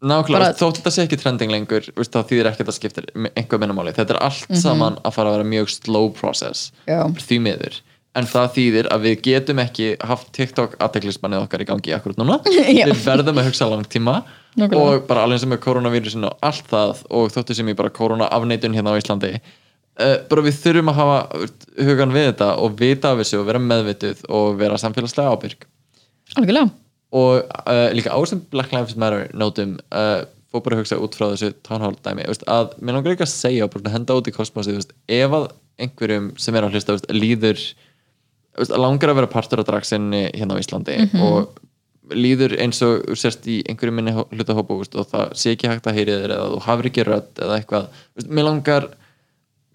S3: Nákvæmlega,
S2: Bara-
S3: bara... þótt þetta sé ekki trending lengur veist, það þýðir ekki að það skiptir einhver minnamáli þetta er allt saman að fara að vera mjög slow process
S2: Mhm. Já.
S3: því miður en það þýðir að við getum ekki haft TikTok aðteklismannið okkar í gangi akkurat núna,
S2: *laughs* Já.
S3: við verðum að hugsa langt tíma
S2: Nákvæmlega.
S3: og bara alveg sem með koronavírusin og allt það og þóttu sem ég bara korona afneitun hérna á Íslandi uh, bara við þurfum að hafa uh, hugan við þetta og vita af þessu og vera meðvituð og vera samfélagslega ábyrg
S2: algjörlega,
S3: og uh, líka á sem Black Lives Matter nótum uh, fór bara að hugsa út frá þessu town hall dæmi veist, að mér langar ekki að segja og bara svona henda út í kosmosi veist, ef að einhverjum sem er að hlusta veist, líður veist, langar að vera partur á draksinni hérna á Íslandi og líður eins og sérst í einhverjum minni hlutahópa veist, og það sé ekki hægt að heyri þér eða þú hafir ekki rödd eða eitthvað veist, mér langar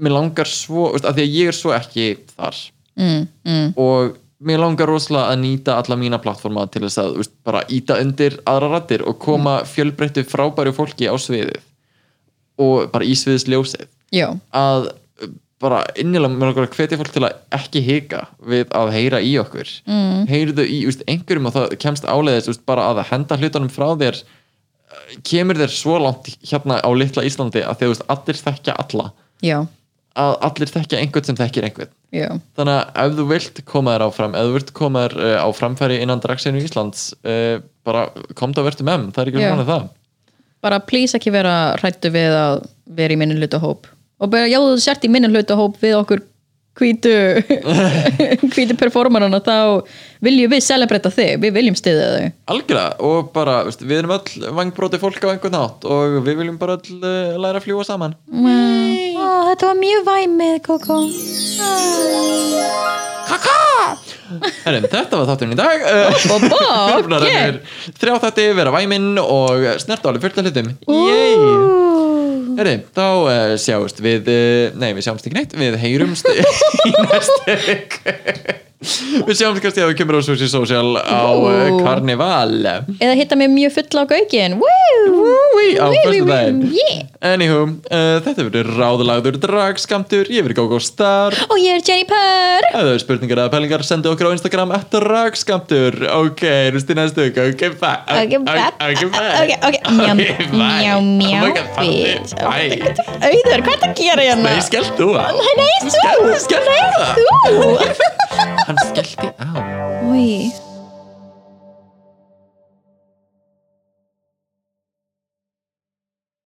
S3: mér langar svo, veist, að því að ég er svo ekki þar mm, mm. og mér langar rosalega að nýta alla mína plattforma til þess að veist, bara íta undir aðra rattir og koma fjölbreyttu frábæru fólki á sviðið og bara í sviðisljósið
S2: já,
S3: að uh, bara innilega mér langar að hvetja fólk til að ekki hika við að heyra í okkur mm. heyrðu í úst, einhverjum og það kemst áleiðis úst, bara að henda hlutunum frá þér uh, kemur þér svo langt hérna á litla Íslandi að því að úst, allir þekkja alla
S2: já,
S3: að allir þekkja einhvern sem þekkir einhvern
S2: já
S3: þannig að ef þú vilt koma þér áfram ef þú vilt koma þér uh, á framfæri innan dragsinu Íslands uh, bara komdu að verðum em, það er ekki
S2: Já.
S3: yeah. svona það
S2: bara please ekki vera hrættu við að vera í minni hlutahóp og bara já, þú sért í minni hlutahóp við okkur hvítu hvítu performarana þá viljum við celebrata þig, við viljum stiðja þig
S3: algjörlega og bara, veist, við erum öll vangbróti fólk á einhvern nátt og við viljum bara öll uh, læra að fljúa saman
S2: Ó, þetta var mjög væmið, Koko
S3: Herrin, þetta var þátturinn í dag uh,
S2: Bó,
S3: *laughs*
S2: bó,
S3: búin að renna
S2: ok.
S3: yfir Þrjá þætti, vera væminn og snert á alveg fullt af hlutum Yay!
S2: Yay.
S3: Herri, þá uh, eh, *laughs* sjáumst við uh, Nei, við sjáumst ekki neitt, við heyrumst í næstu viku Við sjáum kannski að við kemur á Sushi Social á uh,
S2: Ó.
S3: Carnival
S2: eða hitta mig mjög fulla á gaugin Woo!
S3: á
S2: Wee, wee,
S3: föstudaginn
S2: wee, yeah.
S3: Anywho, uh, þetta verður ráðalagður dragskamtur, ég verður Gógó Star
S2: og ég er Jenny Purr
S3: Ef það er spurningar eða pælingar, sendu okkur á Instagram eftir dragskamtur Ok, rúst í næstu viku, ok, bye
S2: Ok, bye.
S3: Ok, bye
S2: ok, ok, njám,
S3: bye.
S2: njám,
S3: Oh my
S2: njám
S3: God, farðu, bye.
S2: auður, hvað er að gera hérna?
S3: Nei, skellt þú að
S2: Nei, nei, þú,
S3: Skell- skelltu
S2: nei,
S3: það.
S2: þú
S4: Hann skellti á
S2: Úi